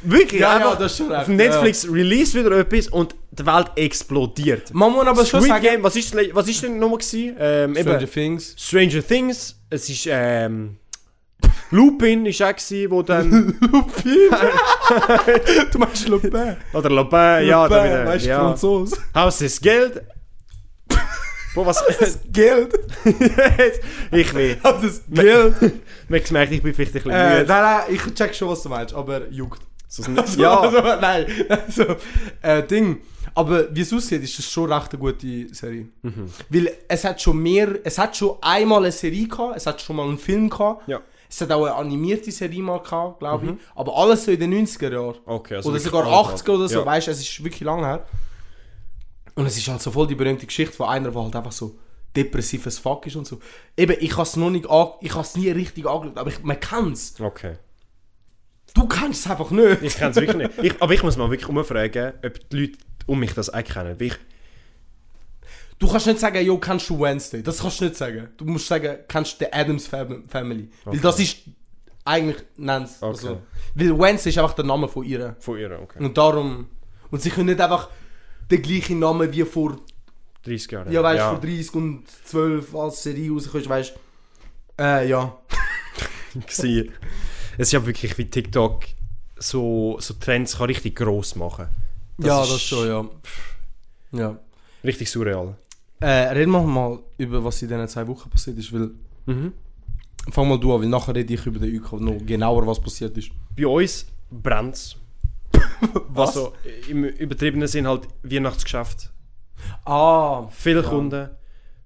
Wirklich, Ja, einfach ja, das ist schon auf recht, Netflix release wieder etwas und die Welt explodiert. Man muss aber schon Squid sagen. Game, was ist, das le- was ist denn nochmal gewesen? Ähm, eben, Stranger Things. Stranger Things, es ist ähm, Lupin ist auch gewesen, wo dann Du meinst Lupin. oder Lupin, ja, da wieder, weißt du, ja. Franzose. Haus des Geld. Boah, was? Geld. ich will. Hab das Geld. Man merkt, ich bin vielleicht ein bisschen äh, nein, müde. nein, ich check schon, was du meinst, aber juckt. So ein- ja. ja, nein. Also, äh, Ding. Aber wie es aussieht, ist es schon recht eine gute Serie. Weil es hat schon mehr, es hat schon einmal eine Serie gehabt, es hat schon mal einen Film gehabt. ja. Es hat auch eine animierte Serie mal gehabt, glaube ich. Aber alles so in den 90er Jahren. Okay, also oder wirklich sogar alt, Alter. 80er oder so, Ja. weißt du, es ist wirklich lange her. Und es ist halt so voll die berühmte Geschichte von einer, die halt einfach so depressives Fuck ist und so. Eben, ich habe es noch nicht, an, ich habe es nie richtig angeschaut, aber ich, man kennt es. Okay. Du kennst es einfach nicht. Ich kenne es wirklich nicht. Ich, aber ich muss mal wirklich umfragen, ob die Leute um mich das auch kennen. Weil Ich, Du kannst nicht sagen, yo, kennst du Wednesday? Das kannst du nicht sagen. Du musst sagen, kennst du die Adams Fam- Family? Weil das ist eigentlich, nennt's. Okay. Also, weil Wednesday ist einfach der Name von ihr. von ihr, okay. Und darum. Und sie können nicht einfach den gleichen Namen wie vor, 30 Jahre. ja, weißt, vor 30 und 12 als Serie rauskommt, weißt Äh, ja. gewesen. Es ist ja wirklich wie TikTok so, so Trends kann richtig gross machen. ja. Ja. Richtig surreal. Äh, reden wir mal über, was in diesen zwei Wochen passiert ist, weil. Mhm. Fang mal du an, weil nachher rede ich über den UK noch genauer, was passiert ist. Bei uns brennt es. Also im übertriebenen Sinn halt Weihnachtsgeschäft. Ah, Viele Kunden,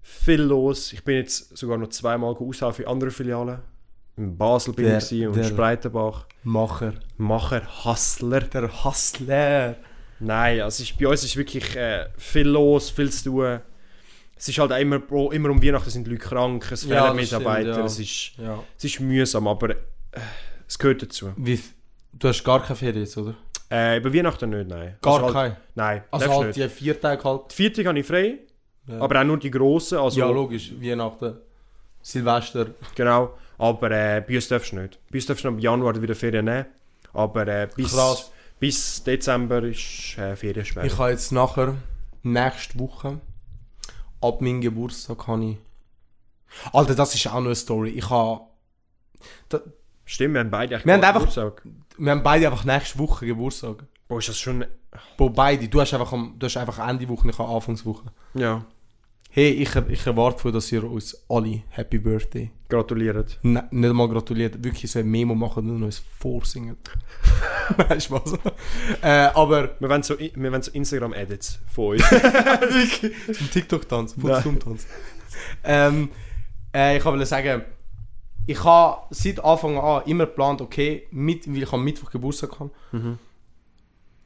viel los. Ich bin jetzt sogar noch zweimal aushelfen in anderen Filialen. In Basel bin Der- ich gewesen und der- Spreitenbach. Macher. Macher, Hustler. Der Hustler. Nein, also ist, bei uns ist wirklich äh, viel los, viel zu tun. Es ist halt auch immer, pro- immer um Weihnachten sind die Leute krank, es fehlen Ja, das Mitarbeiter, stimmt, ja. es, ist, Ja. es ist mühsam, aber äh, es gehört dazu. Wie, f- du hast gar keine Ferien jetzt, oder? Äh, über Weihnachten nicht, nein. Gar also Halt, keine. nein, Also darfst halt nicht. die vier Tage halt. Die vierte habe ich frei, Ja. aber auch nur die grossen, also ja, logisch. Weihnachten, Silvester. genau. Aber äh, bei uns darfst du nicht. Bei uns darfst du ab Januar wieder Ferien nehmen, aber äh, bis, Krass. bis Dezember ist äh, Ferien schwer. Ich habe jetzt nachher, nächste Woche, ab meinem Geburtstag habe ich... Alter, das ist auch noch eine Story. Ich habe Stimmt, wir haben beide echt Wir haben gerade einfach- Geburtstag. Wir haben beide einfach nächste Woche Geburtstag. Boah, ist das schon... Wo beide, du hast einfach, am, du hast einfach Ende Woche, ich habe Anfangswoche. Ja. Hey, ich, ich erwarte von, dass ihr uns alle Happy Birthday Gratuliert. ne, nicht mal gratuliert, wirklich so ein Memo machen und uns vorsingen. weißt du was? Äh, aber Wir wollen so, wir wollen so Instagram-Edits von uns. zum TikTok-Tanz, Nein. zum tanz ähm, äh, Ich wollte sagen, ich habe seit Anfang an immer geplant, okay, mit, weil ich am Mittwoch Geburtstag habe, Mhm.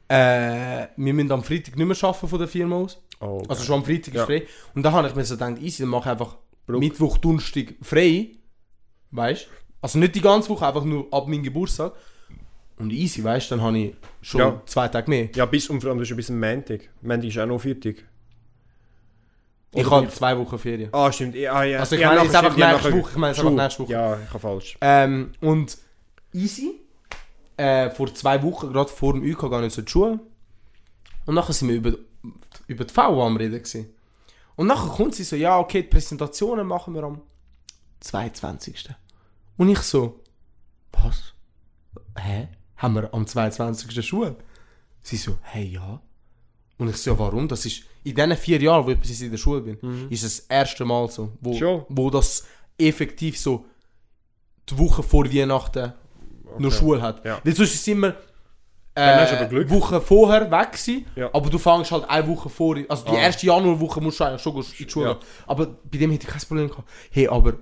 äh, wir müssen am Freitag nicht mehr arbeiten von der Firma aus. Oh, okay. Also schon am Freitag ist Ja. frei. Und da habe ich mir so gedacht, easy, dann mache ich einfach Brug. Mittwoch, Donnerstag frei. Weißt du? Also nicht die ganze Woche, einfach nur ab meinem Geburtstag. Und easy, weißt du, dann habe ich schon Ja. zwei Tage mehr. ja, bis und vor allem, du bist ein bisschen Montag. Montag ist auch noch Viertag. Ich Oder habe nicht? zwei Wochen Ferien. Ah, stimmt. Ja, ah, ja. Also ich Ja, meine nachher jetzt einfach stimmt, ja, nächste nachher- Woche, ich meine jetzt True. einfach nächste Woche. Ja, ich habe falsch. Ähm, und easy. Äh, vor zwei Wochen, gerade vor dem UK, gehe ich so in die Schule. Und nachher sind wir über, über die VW am Reden. Gewesen. Und nachher kommt sie so, ja, okay, die Präsentationen machen wir am 22. Und ich so, was? Hä? Haben wir am 22. Schule? Sie so, hey, ja. Und ich so, ja, warum? Das ist, in diesen vier Jahren, wo ich bis jetzt in der Schule bin, ist das erste Mal so, wo, Schon? wo das effektiv so die Woche vor Weihnachten noch Schule hat. Ja. Weil sonst ist es immer Dann hast du aber äh, Glück. Woche vorher weg gewesen, Ja. aber du fängst halt eine Woche vor, also die Ah. erste Januarwoche musst du eigentlich schon in die Schule Ja. gehen. Aber bei dem hätte ich kein Problem gehabt. Hey, aber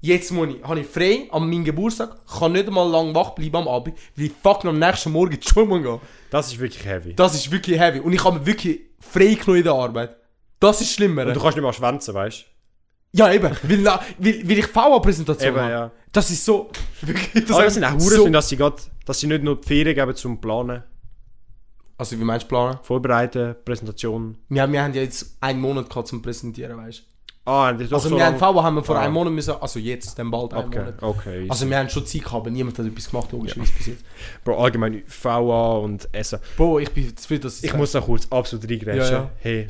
jetzt muss ich, habe ich frei an meinem Geburtstag, kann nicht mal lang wach bleiben am Abend, weil ich fucking am nächsten Morgen in die Schule muss gehen. Das ist wirklich heavy. Das ist wirklich heavy und ich habe mir wirklich frei genommen in der Arbeit. Das ist schlimmer. Und du kannst nicht mal schwänzen, weißt Ja, eben, weil, na- weil, weil ich du? VA-Präsentation Eben, habe. ja. Das ist so... Wirklich, Das, habe sind auch Huren, so- dass sie grad, dass sie nicht nur die Ferien geben zum Planen, Also wie meinst du planen? Vorbereiten, Präsentation. Wir, haben- wir haben ja jetzt einen Monat gehabt zum Präsentieren, weißt du? Ah, und das ist doch Also so wir haben lang. VW haben wir vor Ah. einem Monat müssen, also jetzt, dann bald einen Okay, Monat. okay. Also wir haben schon Zeit gehabt, aber niemand hat etwas gemacht, logischerweise bis jetzt. Bro, allgemein VA und Essen. Boah, ich bin zu viel, dass Ich muss noch kurz absolut reingrätschen. Ja, ja. Hey,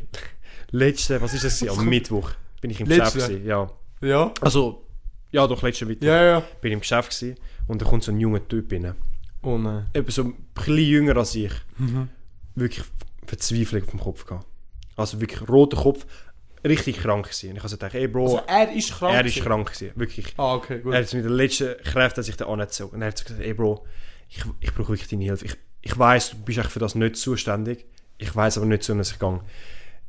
letzte, was ist das? gewesen? Am Mittwoch bin ich im Letzte? Geschäft. gewesen, Ja. Ja? Also, ja, doch, letzte Mittwoch Ja, ja. bin ich im Geschäft gewesen, und da kommt so ein junger Typ rein. Oh nein. Eben so ein bisschen jünger als ich. Wirklich Verzweiflung auf dem Kopf gehabt. Also wirklich roter Kopf, richtig krank gewesen. Und ich habe so gedacht, ey Bro, Also er ist krank. Oh. er ist gewesen. krank gewesen. Wirklich. Ah, okay, gut. Er hat mit den letzten Kräften hat sich da angezogen. Und er hat so gesagt, ey Bro, ich, ich brauche wirklich deine Hilfe. Ich, ich weiss, du bist echt für das nicht zuständig. Ich weiss aber nicht, zu was ich gehe.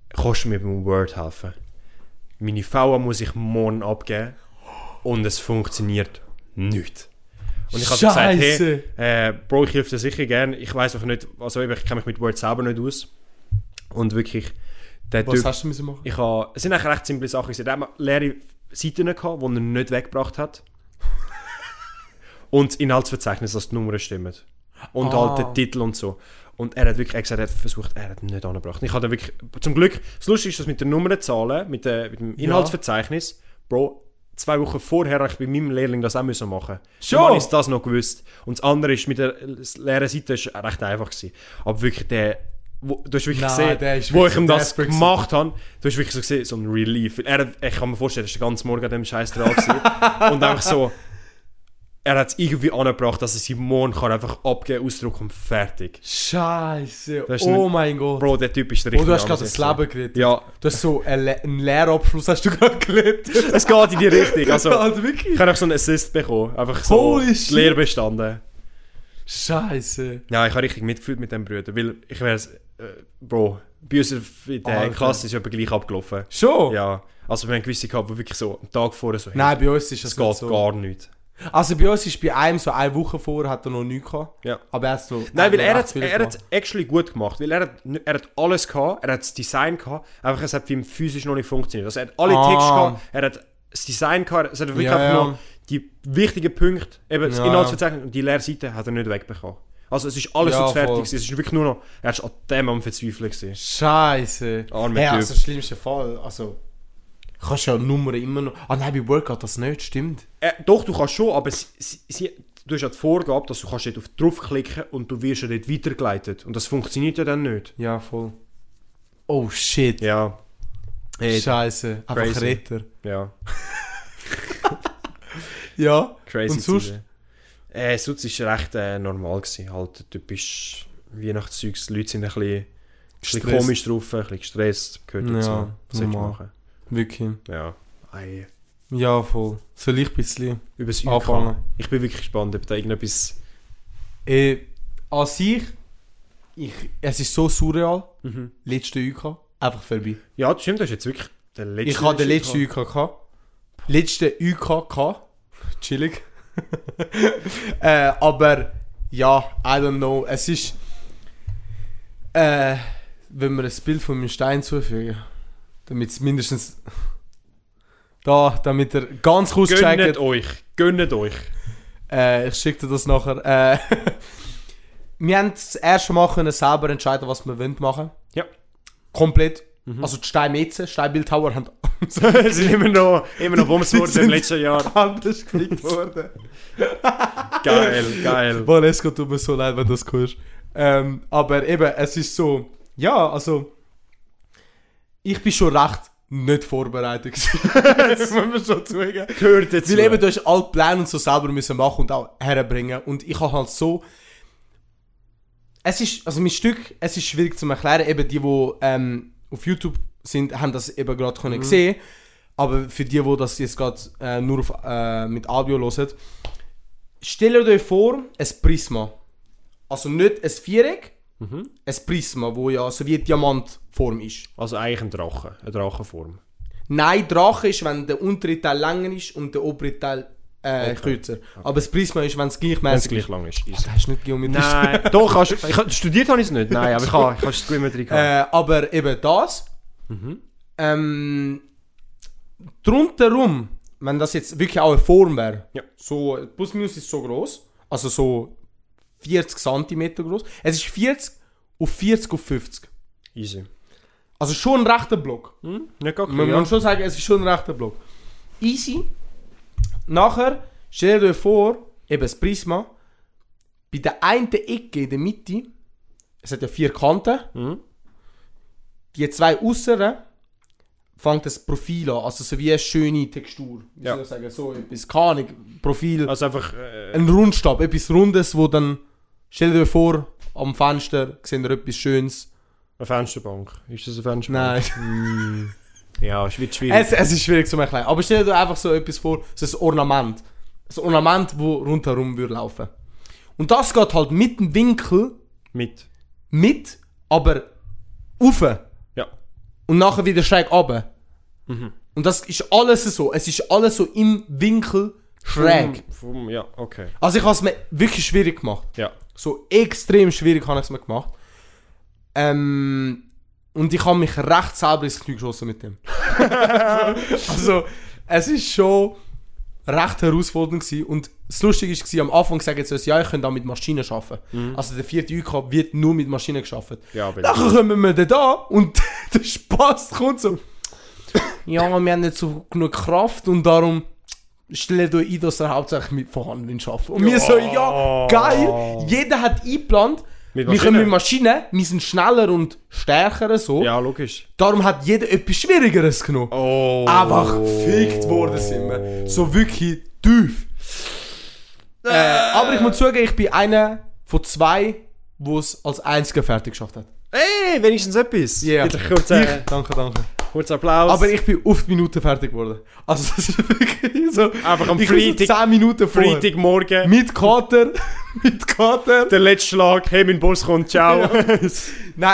Kannst du mir beim Word helfen? Meine VA muss ich morgen abgeben. Und es funktioniert nicht. Und ich habe so gesagt, hey, Scheiße. äh, Bro, ich helfe dir sicher gerne. Ich weiss auch nicht, also eben, ich kenne mich mit Word selber nicht aus. Und wirklich, der Was Typ... hast du müssen machen? Ich habe, es sind eigentlich recht simple Sachen. gewesen. Er hat mal leere Seiten gehabt, die er nicht weggebracht hat. und das Inhaltsverzeichnis, dass die Nummern stimmen. Und Ah. halt der Titel und so. Und er hat wirklich er hat gesagt, er hat versucht, er hat ihn nicht angebracht. Ich habe dann wirklich, zum Glück, das Lustige ist, dass mit den Nummernzahlen, mit, der, mit dem Inhaltsverzeichnis, Bro, zwei Wochen vorher habe ich bei meinem Lehrling das auch müssen machen Schon? Darum habe ich das noch gewusst. Und das andere ist, mit der äh, leeren Seite ist recht einfach gewesen. Aber wirklich, der, wo, du hast wirklich Nein, gesehen, der ist wo wirklich ich ihm das desperate gemacht gemacht habe, du hast wirklich so gesehen, so ein Relief. Weil Er, ich kann mir vorstellen, er war den ganzen Morgen an dem Scheiß dran. gewesen. und einfach so, er hat es irgendwie angebracht, dass er sie morgen kann einfach abgeben, ausdrucken und fertig. Scheiße. Das ist Oh ein- mein Gott. Bro, der Typ ist der oh, du richtige hast gerade das Ansatz. Leben gerettet. Ja, Du hast so einen, Le einen Lehrabschluss hast du gerade gerettet. es geht in die Richtung. Also, Alter, wirklich? ich habe auch so einen Assist bekommen. Einfach so, Holy die shit. Lehre bestanden. Scheiße. Ja, ich habe richtig mitgefühlt mit dem Bruder, weil ich wäre äh, Bro, bei uns in der Alter. Klasse ist jemand gleich abgelaufen. Schon? Ja, also wir haben gewisse gehabt, die wirklich so am Tag vorher so, hey, Nein, bei uns ist das es geht nicht so. gar nicht. Also bei uns ist bei einem so eine Woche vorher hat er noch nichts gehabt. Ja. Aber er hat so. Nein, weil er noch hat recht viel er gemacht. hat actually gut gemacht, weil er hat, er hat alles gehabt, er hat das Design gehabt, einfach es hat für ihn physisch noch nicht funktioniert. Also er hat alle Ah. Texte gehabt, er hat das Design gehabt, es hat wirklich Ja, einfach ja. nur die wichtigen Punkte, eben das Ja, Inhaltsverzeichnis und die leere Seite hat er nicht wegbekommen. Also es ist alles Ja, ja, fertig, voll. gewesen. es ist wirklich nur noch, er ist an dem am Verzweifeln gewesen. Scheiße. Armer hey, Typ. also schlimmster Fall. Also. Kannst ja Nummern immer noch. Ah nein, bei Workout das nicht, stimmt. Äh, doch, du kannst schon, aber sie, sie, sie, du hast ja die Vorgabe, dass du kannst dort auf draufklicken und du wirst ja dort weitergeleitet und das funktioniert ja dann nicht. Ja, voll. Oh shit. Ja. Hey, Scheiße. Einfach Crazy. Retter. ja. Ja. Crazy Und sonst? Zeiten. Äh, sonst ist recht äh, normal gewesen. Halt typisch Weihnachtszeugs. Die Leute sind ein bisschen, bisschen Gestresst. komisch drauf, ein bisschen gestresst. Gehört Ja, dazu. Was soll ich normal. machen? Wirklich. Ja. Ei. Ja, voll. Soll ich ein bisschen... Über das Anfangen. Anfangen. Ich bin wirklich gespannt, ob da irgendetwas... Äh, an sich, ich, es ist so surreal. Mhm. Letzte UK, einfach vorbei. Ja, das stimmt. Das ist jetzt wirklich der letzte... ich hatte den letzten UK. gehabt. Letzte UK. gehabt. Chillig. äh, aber ja, I don't know. Es ist. Äh, wenn wir ein Bild von meinem Stein zufügen, damit es mindestens. Da, damit er ganz kurz Gönnt checkt. euch. Gönnt euch. Äh, ich schicke dir das nachher. Äh, wir haben das erste Mal können selber entscheiden, was wir wollen machen Ja. Mhm. Komplett. Also die Steinmetze, Steinbildhauer haben Es sind immer noch, immer noch Bums geworden sind- im letzten Jahr. anders gekriegt worden. Geil, geil. Valesco tut mir so leid, wenn du das hörst. Ähm, aber eben, es ist so, ja, also, ich bin schon recht nicht vorbereitet gewesen. das muss man schon zugeben. Gehört jetzt Weil eben, du hast alle Pläne und so selber müssen machen und auch herbringen. Und ich habe halt so, es ist, also mein Stück, es ist schwierig zu erklären. Eben die, die ähm, auf YouTube sind, haben das eben gerade können gesehen. Aber für die, die das jetzt gerade äh, nur auf, äh, mit Audio hören, stellt euch vor, ein Prisma. Also nicht ein Viereck, ein Prisma, wo ja so wie eine Diamantform ist. Also eigentlich ein Drache. Eine Drachenform. Nein, Drache ist, wenn der untere Teil länger ist und der obere Teil äh, kürzer. Aber das Prisma ist, wenn es Wenn es gleichmäßig gleich ist. lang ist. Das hast du nicht geometrisch Nein, doch, kannst, ich, hab- studiert habe ich es nicht. Nein, aber ich habe ich habe die Geometrie gehabt. Äh, aber eben das. Mhm. Ähm, drunterrum, wenn das jetzt wirklich auch eine Form wäre, Ja. so plus minus ist so groß, also so 40 cm groß. Es ist 40 auf 40 auf 50. Easy. Also schon ein rechter Block. Hm? Nicht gar Man ja. muss schon sagen, es ist schon ein rechter Block. Easy. Nachher stellt euch vor, eben das Prisma, bei der einen Ecke in der Mitte, es hat ja vier Kanten, Mhm. die zwei äußeren fängt das Profil an, also so wie eine schöne Textur. Wie Ja. soll ich sagen, so etwas, keine Ahnung, Profil, Also einfach äh, ein Rundstab, etwas Rundes, wo dann, stellt euch vor, am Fenster seht ihr etwas Schönes. eine Fensterbank. Ist das eine Fensterbank? Nein. Ja, es wird schwierig. Es, es ist schwierig zu erklären. Aber stell dir einfach so etwas vor, so ein Ornament. So Ein Ornament, wo rundherum würde laufen. Und das geht halt mit dem Winkel Mit. mit, aber auf Ja. und nachher wieder schräg runter. Und das ist alles so. Es ist alles so im Winkel schräg. Vom- Vom, ja, okay. Also ich habe es mir wirklich schwierig gemacht. Ja. So extrem schwierig habe ich es mir gemacht. Ähm, und ich habe mich recht selber ins Knie geschossen mit dem. also, es ist schon recht herausfordernd gewesen. Und das Lustige war, am Anfang sagen sie uns, ja, ich könnte auch mit Maschinen arbeiten. Also der vierte UK wird nur mit Maschinen geschafft. Mhm. Ja, aber- Nachher kommen wir dann da und der Spaß kommt so. ja, wir haben nicht so genug Kraft und darum stellen wir ein, dass er hauptsächlich mit vorhandenen schafft. Und wir so, ja, geil, jeder hat eingeplant, Mit wir können Maschinen. mit Maschinen, wir sind schneller und stärker so. Ja, logisch. Darum hat jeder etwas Schwierigeres genommen. Oh. Einfach gefickt worden sind wir. So wirklich tief. Äh, aber ich muss zugeben, ich bin einer von zwei, wo es als einziger fertig geschafft hat. Ey, wenigstens etwas. Ja. Bitte kurz, äh, Ich- Danke, danke. kurz Applaus. Aber ich bin oft Minuten fertig geworden. Also das ist wirklich so. Einfach am ich bin so Freitag- 10 Minuten vor. Freitagmorgen. Mit Kater. mit Kater. Der letzte Schlag. Hey, mein Boss kommt. Ciao. Nein,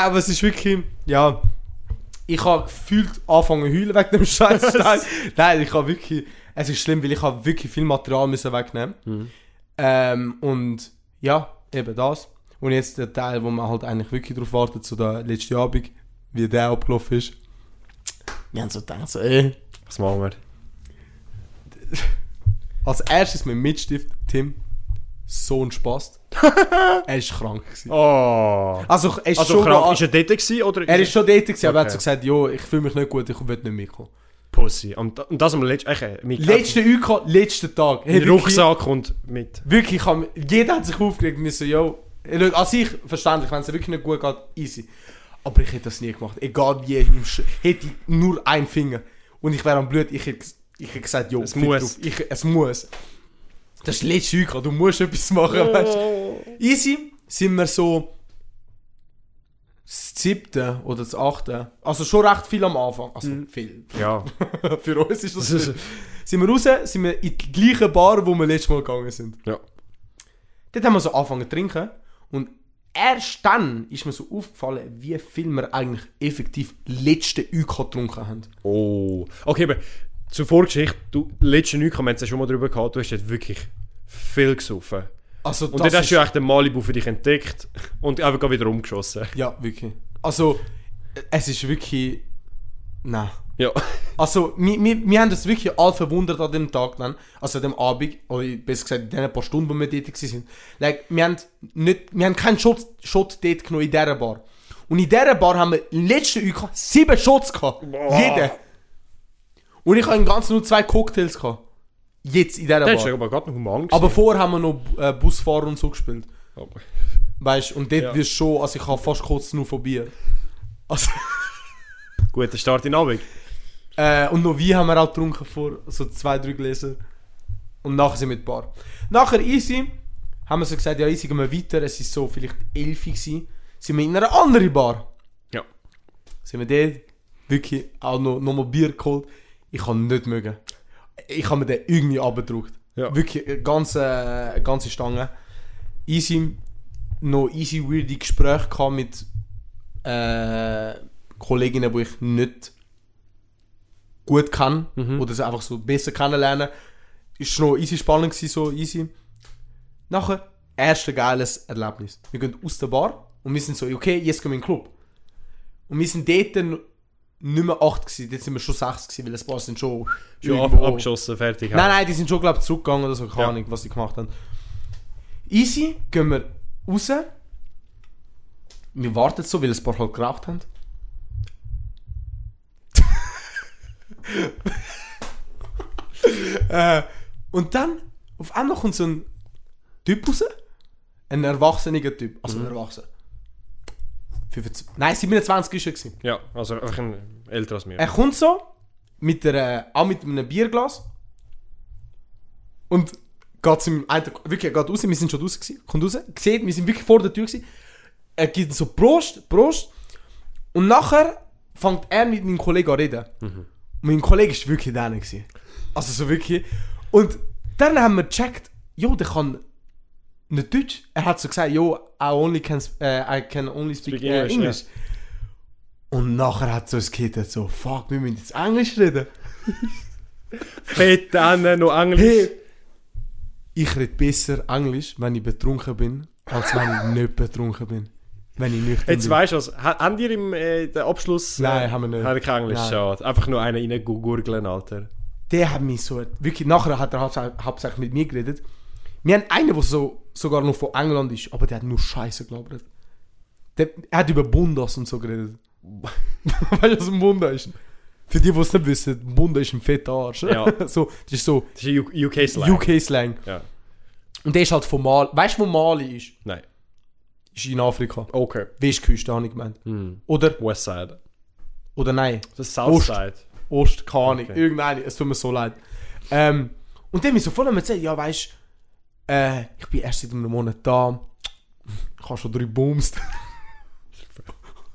aber es ist wirklich. Ja. Ich habe gefühlt anfangen zu heulen wegen dem Scheiß. Nein, Nein, ich habe wirklich. Es ist schlimm, weil ich habe wirklich viel Material müssen wegnehmen. Mhm. Ähm, und ja, eben das. Und jetzt der Teil, wo man halt eigentlich wirklich drauf wartet, so der letzte Abend, wie der abgelaufen ist. Wir haben so gedacht, so, äh. ey. Was machen wir? Als erstes mit dem Mitstift, Tim, so ein Spaß. er ist krank. Gewesen. Oh. Also, er ist, Also schon krank, da- ist er dort gewesen, oder? er ist schon dort, gewesen, aber er hat Okay. so gesagt, jo, ich fühle mich nicht gut, ich will nicht mitkommen. Pussy. Und, da- und das am letzten... Okay, mit Letzte UK, letzten Tag. Hey, Mit wirklich- Rucksack und mit... Wirklich, ich hab- jeder hat sich aufgeregt und mir so, yo, schau, an sich verständlich, wenn es wirklich nicht gut geht, easy. Aber ich hätte das nie gemacht. Egal wie, ich im Sch hätte ich nur einen Finger und ich wäre am Blut, ich hätte Ich habe gesagt, jo, Es fick muss. drauf. Ich, es muss. Das ist die letzte Schüge, du musst etwas machen, Mhm. weißt du. Easy sind wir so das siebte oder das achte. Also schon recht viel am Anfang. Also Mhm. viel. Ja. Für uns ist das Das ist- viel. Sind wir raus, sind wir in die gleiche Bar, wo wir letztes Mal gegangen sind. ja. Dort haben wir so angefangen zu trinken und erst dann ist mir so aufgefallen, wie viel wir eigentlich effektiv letzte UK getrunken haben. Oh. Okay, aber zur Vorgeschichte, du, letzte Neuk haben wir jetzt ja schon mal drüber gehabt, du hast dort wirklich viel gesoffen. Also Und dann hast du ja echt den Malibu für dich entdeckt und einfach gerade wieder umgeschossen. Ja, wirklich. Also, äh, es ist wirklich... Nein. Ja. Also, wir, wir, wir haben das wirklich alle verwundert an dem Tag dann, also an dem Abend, oder besser gesagt, in den paar Stunden, wo wir dort waren. Like, wir haben, nicht, wir haben keinen Shot, Shot dort genommen in dieser Bar. Und in dieser Bar haben wir im letzten UK sieben Shots gehabt. Jeder. Und ich habe im Ganzen nur zwei Cocktails gehabt. Jetzt in dieser Dann hast du Bar. aber gerade noch human gesehen. Aber vorher haben wir noch äh, Busfahrer und so gespielt. Aber- Weißt du, und dort Ja. wirst du schon, also ich habe fast kurz nur von Bier. Also, Guter Start in den Abend. Äh, und noch Wein haben wir auch getrunken vor so zwei, drei Gläser. Und nachher sind wir mit Bar. Nachher easy, haben wir so gesagt, ja easy, gehen wir weiter. Es ist so vielleicht 11 Uhr gewesen. Sind wir in einer anderen Bar. Ja. Sind wir dort wirklich auch noch, noch mal Bier geholt. Ich kann nicht mögen. Ich habe mir den irgendwie abgedruckt. Ja. Wirklich, eine ganze, eine ganze Stange. Easy, noch easy weirde Gespräche gehabt mit äh, Kolleginnen, die ich nicht gut kann Mhm. oder sie einfach so besser kennenlernen. Ist noch easy spannend gewesen, so easy. Nachher, erste geiles Erlebnis. Wir gehen aus der Bar und wir sind so, okay, jetzt gehen wir in den Club. Und wir sind dort dann nicht mehr 8 gewesen, jetzt sind wir schon 6 gewesen, weil das Paar sind schon... Schon ab, irgendwo- abgeschossen, fertig. Nein, nein, die sind schon, glaube ich, zurückgegangen oder so, keine Ja. Ahnung, was sie gemacht haben. Easy, gehen wir raus. Wir warten so, weil ein paar halt geraucht haben. äh, und dann, auf einmal kommt so ein Typ raus. Ein erwachsener Typ. Also ein Erwachsener. 15, nein, 27 ist er. Gewesen. Ja, also einfach ein älter als mir. Er kommt so, mit einer, auch mit einem Bierglas. Und geht zu meinem einen, wirklich, er geht raus, wir sind schon raus gewesen, kommt raus, sieht, wir sind wirklich vor der Tür gewesen. Er gibt so Prost, Prost. Und nachher fängt er mit meinem Kollegen an reden. Mhm. Und mein Kollege war wirklich der gewesen. Also so wirklich. Und dann haben wir gecheckt, jo, der kann nicht Deutsch. Er hat so gesagt, jo, I only can, sp- äh, I can only speak, Speak äh, English, English. Und nachher hat so ein Kind so, fuck, wir müssen jetzt Englisch reden. Fett, dann noch Englisch. Hey, ich rede besser Englisch, wenn ich betrunken bin, als wenn ich nicht betrunken bin. Wenn ich nüchtern Jetzt bin. weißt du was, ha- haben die im äh, den Abschluss... Nein, haben wir nicht. Haben wir kein Englisch, Nein. schade. Einfach nur einen reingurgeln, Alter. Der hat mich so, wirklich, nachher hat er hauptsächlich, hauptsächlich mit mir geredet. Wir haben einen, der so, sogar noch von England ist, aber der hat nur Scheiße gelabert. Der, er hat über Bundas und so geredet. weißt du, was ein Bunda ist? Für die, die es nicht wissen, Bunda ist ein fetter Arsch. Ja. so, das ist so Das ist ein U- UK-Slang. UK-Slang. Ja, Und der ist halt von Mali. Weißt du, wo Mali ist? nein. Ist in Afrika. Okay. Westküste, habe ich gemeint. Hm. Oder, Westside. oder nein, Das ist Southside. Ost, keine Ahnung, Okay. irgendeine, es tut mir so leid. Ähm, und dann haben wir so voll erzählt, ja weisst, äh, ich bin erst seit einem Monat da, ich habe schon drei Booms.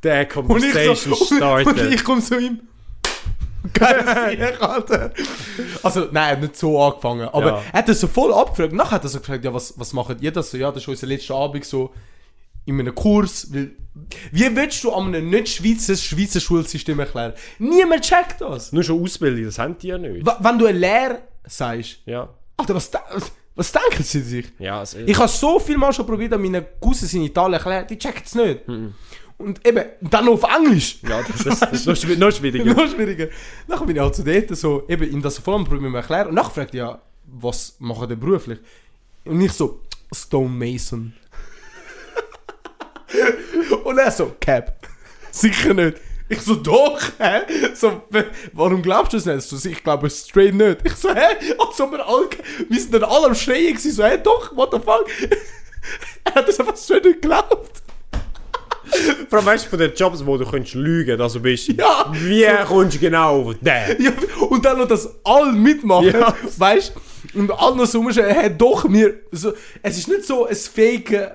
Der Und ich, Conversation so, und, und started. ich komme zu ihm. Geil, Sieg, Alter. Also, nein, er hat nicht so angefangen. Aber Ja. er hat das so voll abgefragt. Nachher hat er so gefragt, ja, was, was macht ihr das so? Ja, das ist unser letzter Abend so in einem Kurs. Weil, wie willst du an einem nicht-Schweizer Schweizer Schulsystem erklären? Niemand checkt das. Nur schon Ausbildung, das haben die ja nicht. W- Wenn du eine Lehre sagst, Ja. Alter, was, de- was denken sie sich? Ja, also, Ich habe so viel Mal schon probiert, an meinen Cousins in Italien erklärt, die checken es nicht. Mhm. Und eben, dann noch auf Englisch. ja das, ist, das ist noch schwi- noch schwieriger. Noch schwieriger. Nachher bin ich halt zu dort, so, eben, ihm das vor allem probieren wir erklären. Und nachher fragt er, ja, was machen die beruflich? Und ich so, Stonemason. Und er so, Cap. Sicher nicht. Ich so, doch, hä? So, w- warum glaubst du es nicht? So, ich glaube es straight nicht. Ich so, hä? Also, wir, alle, wir sind dann alle am Schreien gewesen. So, hä, doch, what the fuck? er hat das einfach straight nicht geglaubt. Vor allem weißt du von den Jobs, wo du könntest lügen, dass du bist. Ja. Wie kommst du genau auf den? Ja, und Und dann noch das all mitmachen, Ja. weißt du? Und all noch so rumschauen, hey, doch, wir. So, es ist nicht so ein Faken. Ja.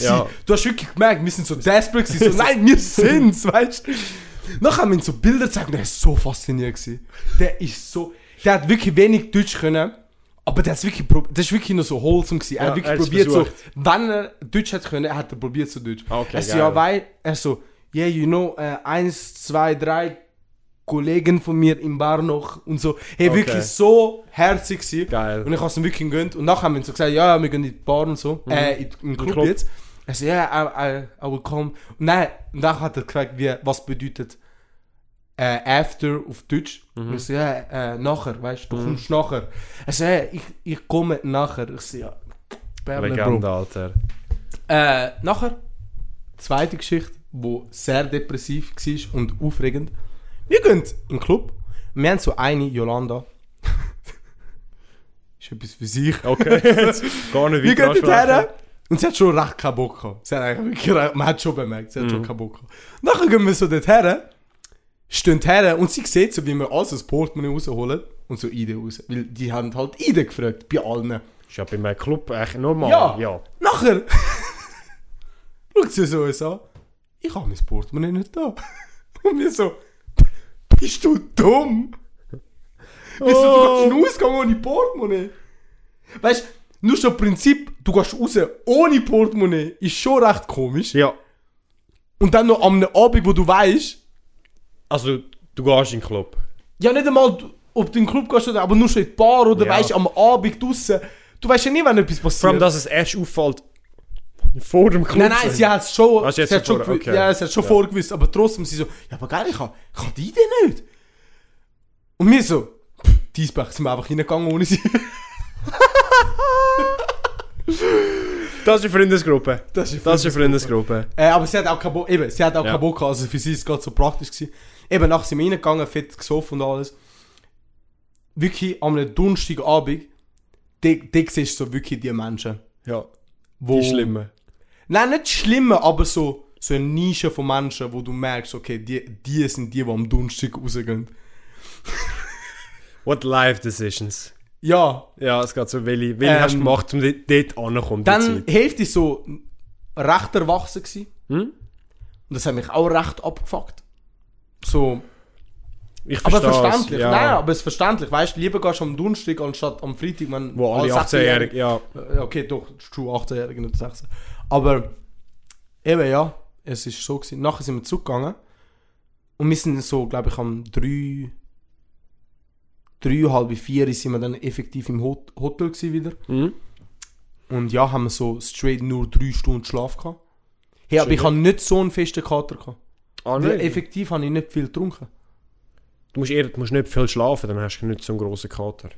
Ja. Du hast wirklich gemerkt, wir sind so desperate gewesen, so, nein, wir sind's, weißt du? Nachher haben wir ihm so Bilder gezeigt und der ist so fasziniert gewesen. Der ist so, der hat wirklich wenig Deutsch können, aber der ist wirklich, prob- das ist wirklich nur so wholesome gewesen. Er Ja, hat wirklich er hat's probiert versucht. so, wenn er Deutsch hätte können, er hat er probiert so Deutsch. Ah, okay, er so, geil. ja, weil, er so, yeah, you know, äh, eins, zwei, drei Kollegen von mir im Bar noch und so. Hey, Okay. wirklich so herzig gewesen. Geil. Und ich habe es ihm wirklich gegönnt. Und nachher haben wir so gesagt, ja, ja, wir gehen in die Bar und so. Äh, in, in den Club, Club. jetzt. Er so, yeah, I, I, I will come. Und dann, und dann hat er gefragt, wie, was bedeutet äh, after auf Deutsch. Und ich so, ja, äh, nachher, weißt du, du kommst nachher. Er so, hey, ich, ich komme nachher. Ich so, ja, Perle, Bro. Legende, Alter. Äh, nachher, zweite Geschichte, die sehr depressiv war und aufregend. Wir gehen in den Club. Wir haben so eine, Yolanda. ist etwas für sich. Okay, gar nicht Wir gehen weit dorthin und sie hat schon recht keinen Bock gehabt. Sie hat eigentlich wirklich, recht- man hat schon bemerkt, sie hat schon keinen Bock gehabt. Nachher gehen wir so dorthin, stehen her und sie sieht so, wie wir alles aus Portemonnaie rausholen und so Ide raus. Weil die haben halt Ide gefragt, bei allen. Ist ja bei meinem Club echt normal. Ja. Ja. ja. Nachher schaut sie so uns an. Ich habe mein Portemonnaie nicht da. Und wir so, bist du dumm? Wieso, du gehst Oh. in den Ausgang ohne Portemonnaie? Weißt du, nur schon Prinzip, du gehst raus ohne Portemonnaie, ist schon recht komisch. Ja. Und dann noch am Abend, wo du weißt, Also, du gehst in den Club. ja nicht einmal, du- ob du in den Club gehst oder aber nur schon in die Bar oder Ja. weißt am Abend draußen. Du weißt ja nie, wenn etwas passiert. Vor allem, dass es erst auffällt vor dem Club. Nein, nein, sie hat es schon, Ah, sie hat's sie hat schon schon, vor- gewi- okay. ja, sie hat schon Ja. vorgewusst, aber trotzdem, sie so, ja, aber geil, ich habe ich hab die Idee nicht. Und wir so, pff, Diesbach sind wir einfach reingegangen ohne sie. Das ist eine Freundesgruppe. Das ist Das ist eine Freundesgruppe. Äh, aber sie hat auch keinen Bock, eben, sie hat auch Ja. keinen Bock gehabt, also für sie ist es gerade so praktisch gewesen. Eben, nachher sind wir reingegangen, fett gesoffen und alles. Wirklich, am dunstigen Abend, dick, dick siehst du so wirklich die Menschen. Ja. Oh. Wo, Die Schlimme. Nein, nicht schlimmer, aber so, so eine Nische von Menschen, wo du merkst, okay, die, die sind die, die am Donnerstag rausgehen. What life decisions. Ja, Ja, es geht so, welche, welche Ähm, hast du gemacht, um dort dort anzukommen? dann die Zeit? Hälfte ist so recht erwachsen gsi Hm? und das hat mich auch recht abgefuckt. So, Ich aber verstehe es, verständlich, ja. nein, aber es ist verständlich, weißt du, lieber gehst du am Donnerstag anstatt am Freitag, wenn Wo alle 18-Jährigen, ja. Äh, Okay, doch, es ist true, 18-Jährige, nicht 16. Aber eben ja, es ist so gewesen. Nachher sind wir zurückgegangen und wir sind so, glaube ich, am 3, 3, halb 4 sind wir dann effektiv im Hot Hotel gewesen wieder. Mhm. Und ja, haben wir so straight nur 3 Stunden Schlaf gehabt. Hey, aber Schön. ich habe nicht so einen festen Kater gehabt. Ah, Weil nein. effektiv habe ich nicht viel getrunken. Du musst, eher, du musst nicht viel schlafen, dann hast du nicht so einen grossen Kater.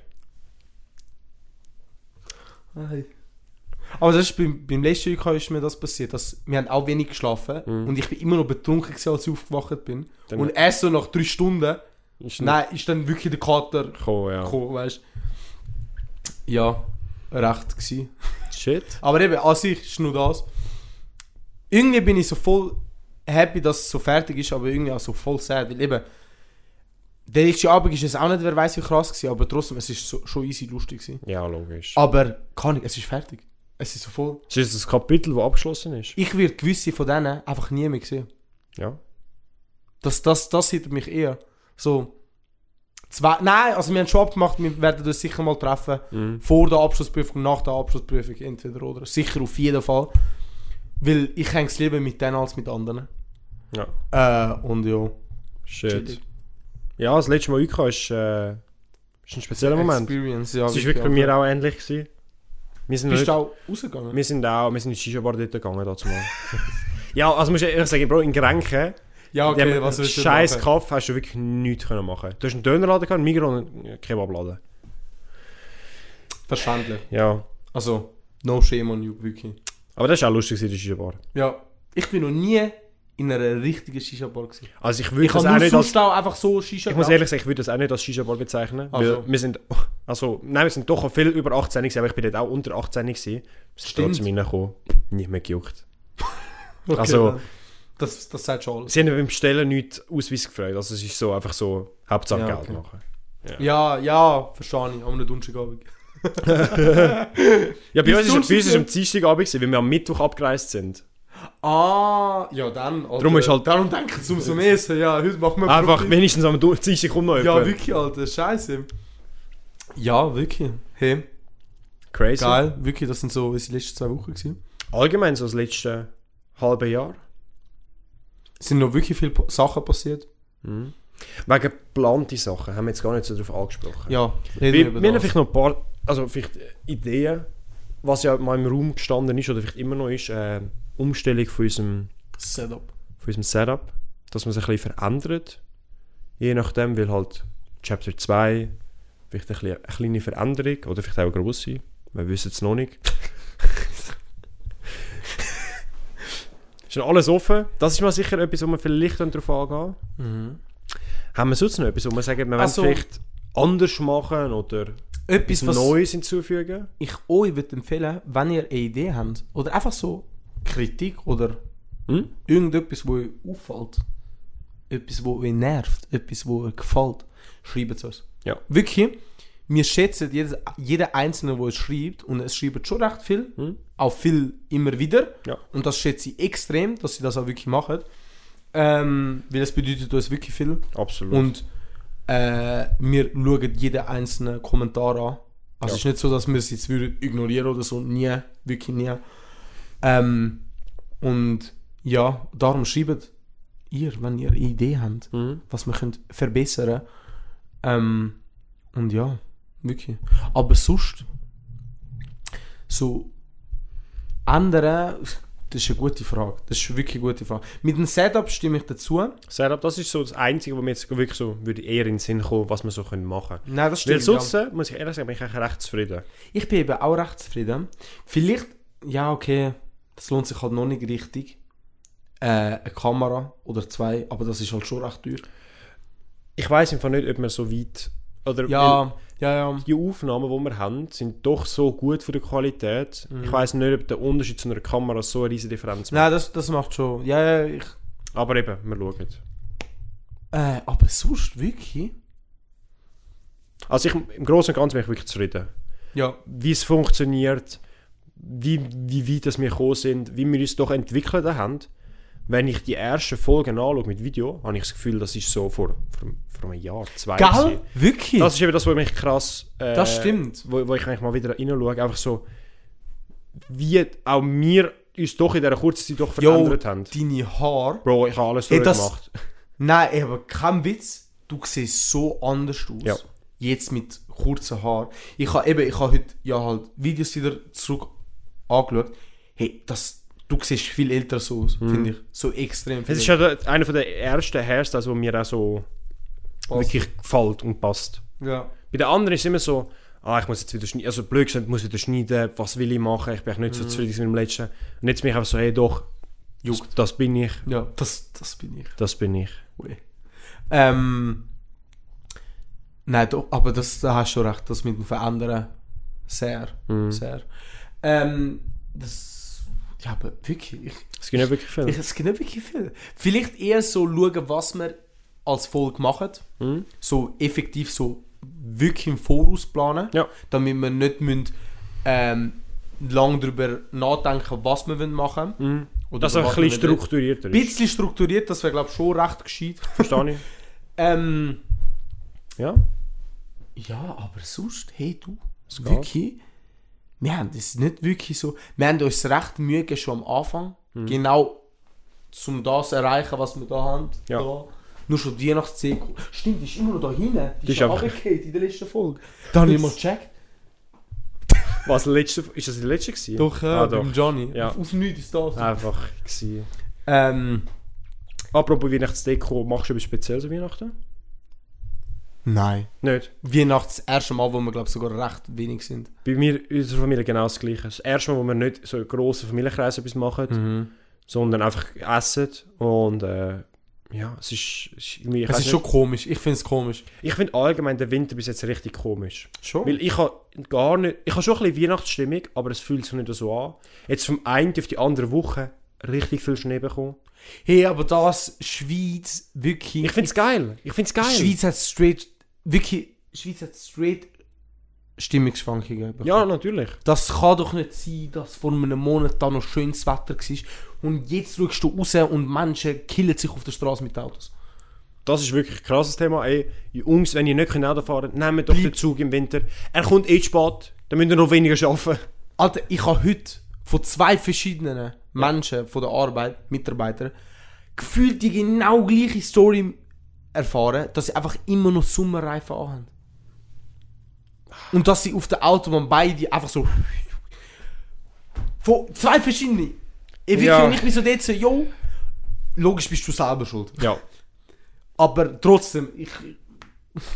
Aber das ist beim, beim letzten UK ist mir das passiert, dass wir haben auch wenig geschlafen und ich bin immer noch betrunken gewesen, als ich aufgewacht bin. Dann- und erst so nach drei Stunden, Ist nicht nein, ist dann wirklich der Kater gekommen, ja. gekommen, weißt du. Ja, recht gewesen. Shit. Aber eben, an sich ist nur das. Irgendwie bin ich so voll happy, dass es so fertig ist, aber irgendwie auch so voll sad, weil eben, der letzte Abend ist es auch nicht, wer weiß wie krass gewesen, aber trotzdem, es ist so, schon easy lustig gewesen. Ja, logisch. Aber, keine Ahnung, es ist fertig. Es ist so voll. Es ist das ein Kapitel, das abgeschlossen ist. Ich werde gewisse von denen einfach nie mehr sehen. Ja. Das, das, das hittet mich eher. So. Zwei, nein, also wir haben schon abgemacht, wir werden uns sicher mal treffen. Mhm. Vor der Abschlussprüfung, nach der Abschlussprüfung, entweder oder. Sicher auf jeden Fall. Weil ich hänge es lieber mit denen als mit anderen. Ja. Äh, und ja. Shit. Ja, das letzte Mal UK ist, äh, ist ein spezieller Moment. Experience, ja. also. Es war wirklich bei mir auch ähnlich. Gewesen. Wir sind Bist du nicht, auch rausgegangen? wir sind auch, wir sind in die Shisha-Bar dort gegangen, dazu mal. ja, also muss ich ehrlich sagen, Bro, in Grenken, Ja, die haben einen willst du scheiß machen? Kaff, hast du wirklich nichts können machen. Du hast einen Dönerladen, gehabt, einen Migros und einen Kebabladen. Verständlich. Ja. Also, no shame on you, wirklich. Aber das war auch lustig, gewesen, die Shisha-Bar. Ja. Ich bin noch nie in einer richtigen Shisha-Bar gewesen. Also ich Ich würde das habe auch nur nicht als... sonst auch einfach so Shisha Ich muss ehrlich sagen, ich würde das auch nicht als Shisha-Bar bezeichnen. Also. Weil wir sind... Also, nein, wir sind doch viel über 18 gewesen, aber ich bin dort auch unter 18 gewesen. Wir sind Stimmt. trotzdem reingekommen. Nicht mehr gejuckt. Okay, also- dann. Das, das sagt schon alles. Sie haben beim Bestellen nicht Ausweis gefragt. Also es ist so einfach so, Hauptsache Ja, Geld okay. machen. Ja, ja, verstehe ich. Am Donnerstagabend. Ja, bei Bis uns ist, bei uns ist es am Donnerstag- Dienstagabend, gewesen, weil wir am Mittwoch abgereist sind. Ah, ja dann. Alter. Darum ist halt- Darum denken sie umso mehr. so, Ja, heute machen wir Einfach Profit. wenigstens am Don- Dienstag kommt noch Ja, jemand. wirklich, Alter. Scheiße. Ja, wirklich. Hey, Crazy. geil. Wirklich, das sind so unsere letzten zwei Wochen gewesen. Allgemein so das letzte halbe Jahr. Es sind noch wirklich viele Po- Sachen passiert. Wegen geplante Sachen haben wir jetzt gar nicht so darauf angesprochen. Ja, wir, reden wir wir haben über das. vielleicht noch ein paar also vielleicht äh, Ideen, was ja mal im Raum gestanden ist oder vielleicht immer noch ist, äh, Umstellung von unserem, Setup. von unserem Setup, dass man es ein bisschen verändert. Je nachdem, weil halt Chapter 2 vielleicht ein bisschen, eine kleine Veränderung oder vielleicht auch eine grosse, wir wissen es noch nicht. ist noch alles offen. Das ist mal sicher etwas, wo wir vielleicht darauf angehen Mhm. Haben wir sonst noch etwas, wo wir sagen, wir Also- wollen vielleicht anders machen oder Etwas, was was Neues hinzufügen? ich euch würde empfehlen, wenn ihr eine Idee habt oder einfach so Kritik oder Hm? irgendetwas, wo euch auffällt, etwas, wo euch nervt, etwas, wo euch gefällt, schreibt es uns. Ja. Wirklich, wir schätzen jedes, jeden Einzelnen, der es schreibt und es schreibt schon recht viel, Hm? auch viel immer wieder Ja. und das schätze ich extrem, dass sie das auch wirklich machen, ähm, weil es bedeutet uns wirklich viel. Absolut. Und äh, wir schauen jeden einzelnen Kommentar an. Also es ist nicht so, dass wir es jetzt würden ignorieren oder so. Nie. Wirklich nie. Ähm, und ja, darum schreibt ihr, wenn ihr eine Idee habt, Mhm. was wir könnt verbessern ähm, Und ja, wirklich. Aber sonst, so andere, das ist eine gute Frage. Das ist wirklich eine gute Frage. Mit dem Setup stimme ich dazu. Setup, das ist so das Einzige, wo mir jetzt wirklich so würde eher in den Sinn kommen, was wir so können machen können. Nein, das Weil ja. sonst, äh, muss ich ehrlich sagen, bin ich eigentlich recht zufrieden. Ich bin eben auch recht zufrieden. Vielleicht, ja, okay, das lohnt sich halt noch nicht richtig. Äh, eine Kamera oder zwei, aber das ist halt schon recht teuer. Ich weiß einfach nicht, ob wir so weit... Oder weil Ja, ja, ja. die Aufnahmen, die wir haben, sind doch so gut von der Qualität. Mhm. Ich weiß nicht, ob der Unterschied zu einer Kamera so eine riesige Differenz macht. Nein, das, das macht schon. Ja, ja, ich. Aber eben, wir schauen. Äh, aber sonst wirklich? Also ich, im Großen und Ganzen bin ich wirklich zufrieden. Ja. wie es funktioniert, wie, wie weit das wir gekommen sind, wie wir uns doch entwickelt haben. Wenn ich die ersten Folgen anschaue mit Video, habe ich das Gefühl, das ist so vor, vor, vor einem Jahr, zwei. Geil? gewesen. Wirklich? Das ist eben das, was mich krass... äh, Das stimmt. Wo, wo ich eigentlich mal wieder reinschaue, einfach so, wie auch wir uns doch in dieser kurzen Zeit doch Jo, verändert haben. deine Haare. Bro, ich habe alles Ey, das- durchgemacht. Nein, ey, aber kein Witz, du siehst so anders aus. Ja. Jetzt mit kurzen Haaren. Ich habe eben, ich habe heute ja halt Videos wieder zurück angeschaut. Hey, das, du siehst viel älter so aus, finde ich. So extrem viel Es Mhm. ist älter. ja der- einer von der ersten Hairstyles, wo mir auch so Passt. wirklich gefällt und passt. ja. Bei den anderen ist es immer so, ah, ich muss jetzt wieder schneiden, also blöd gesagt, ich muss wieder schneiden, was will ich machen, ich bin eigentlich nicht Mhm. so zufrieden mit dem letzten. Und jetzt bin ich einfach so, hey doch, das, Juckt. das bin ich, ja, das, das bin ich. das bin ich. Ui. Ähm, nein, doch, aber das, da hast du schon recht, das mit dem Verändern. Sehr, Mhm. sehr. Ähm, das, ja, aber wirklich, ich, Es gibt nicht wirklich viel. Ich, es gibt nicht wirklich viel. Vielleicht eher so schauen, was wir als Volk machen. Hm? So effektiv, so wirklich im Voraus planen. Ja. Damit wir nicht müssen, ähm, lange darüber nachdenken was wir wollen machen wollen. Oder dass es Hm. Also ein was wir bisschen nicht wollen. strukturierter Ein ist, bisschen strukturiert, das wäre, glaube ich, schon recht gescheit. verstehe ich. Ähm, Ja, ja, aber sonst, hey du, geht. wirklich, wir haben es nicht wirklich so, wir haben uns recht Mühe gegeben schon am Anfang, genau zum das zu erreichen, was wir da haben. Ja. Da. Nur schon die Weihnachtszeit. Stimmt, die ist immer noch da hinten. Die, ist ist ja einfach- runtergefallen in der letzten Folge. Da habe ich mal gecheckt. was letzte, ist das die letzte gewesen? ah, ah, doch. Johnny. Ja. Aus nichts ist das. Einfach gewesen. Ähm, Apropos Weihnachtsdeko, machst du etwas Spezielles an Weihnachten? nein. Nicht. Weihnachts das erste Mal, wo wir, glaube ich, sogar recht wenig sind. Bei mir, unserer Familie genau das Gleiche. Das erste Mal, wo wir nicht so einen grossen Familienkreis etwas machen, sondern einfach essen und äh, ja, es ist, es ist irgendwie... Ich, es weiss ist nicht. schon komisch. Ich finde es komisch. ich finde allgemein den Winter bis jetzt richtig komisch. Schon? Weil ich habe gar nicht... Ich habe schon ein bisschen Weihnachtsstimmung, aber es fühlt sich nicht so an. Jetzt vom einen auf die andere Woche richtig viel Schnee bekommen. Hey, aber das Schweiz wirklich. Ich finde es geil. Ich finde es geil. Die Schweiz hat straight wirklich Schweiz hat straight Stimmungsschwankungen bekommen. Ja, natürlich. Das kann doch nicht sein, dass vor einem Monat da noch schönes Wetter war und jetzt schaust du raus und Menschen killen sich auf der Straße mit Autos. Das ist wirklich ein krasses Thema. Ey, Jungs, wenn ihr nicht könnt Auto fahren könnt, nehmt doch Bleib- den Zug im Winter. Er kommt eh zu spät, dann müsst ihr noch weniger arbeiten. Alter, ich habe heute von zwei verschiedenen Menschen von der Arbeit, Mitarbeitern, gefühlt die genau gleiche Story erfahren, dass sie einfach immer noch Sommerreifen anhaben. Und dass sie auf der Autobahn beide einfach so... Von zwei verschiedenen. Ich wirklich, Ja. und ich bin so dort so, yo, logisch bist du selber schuld. Ja, Aber trotzdem, ich...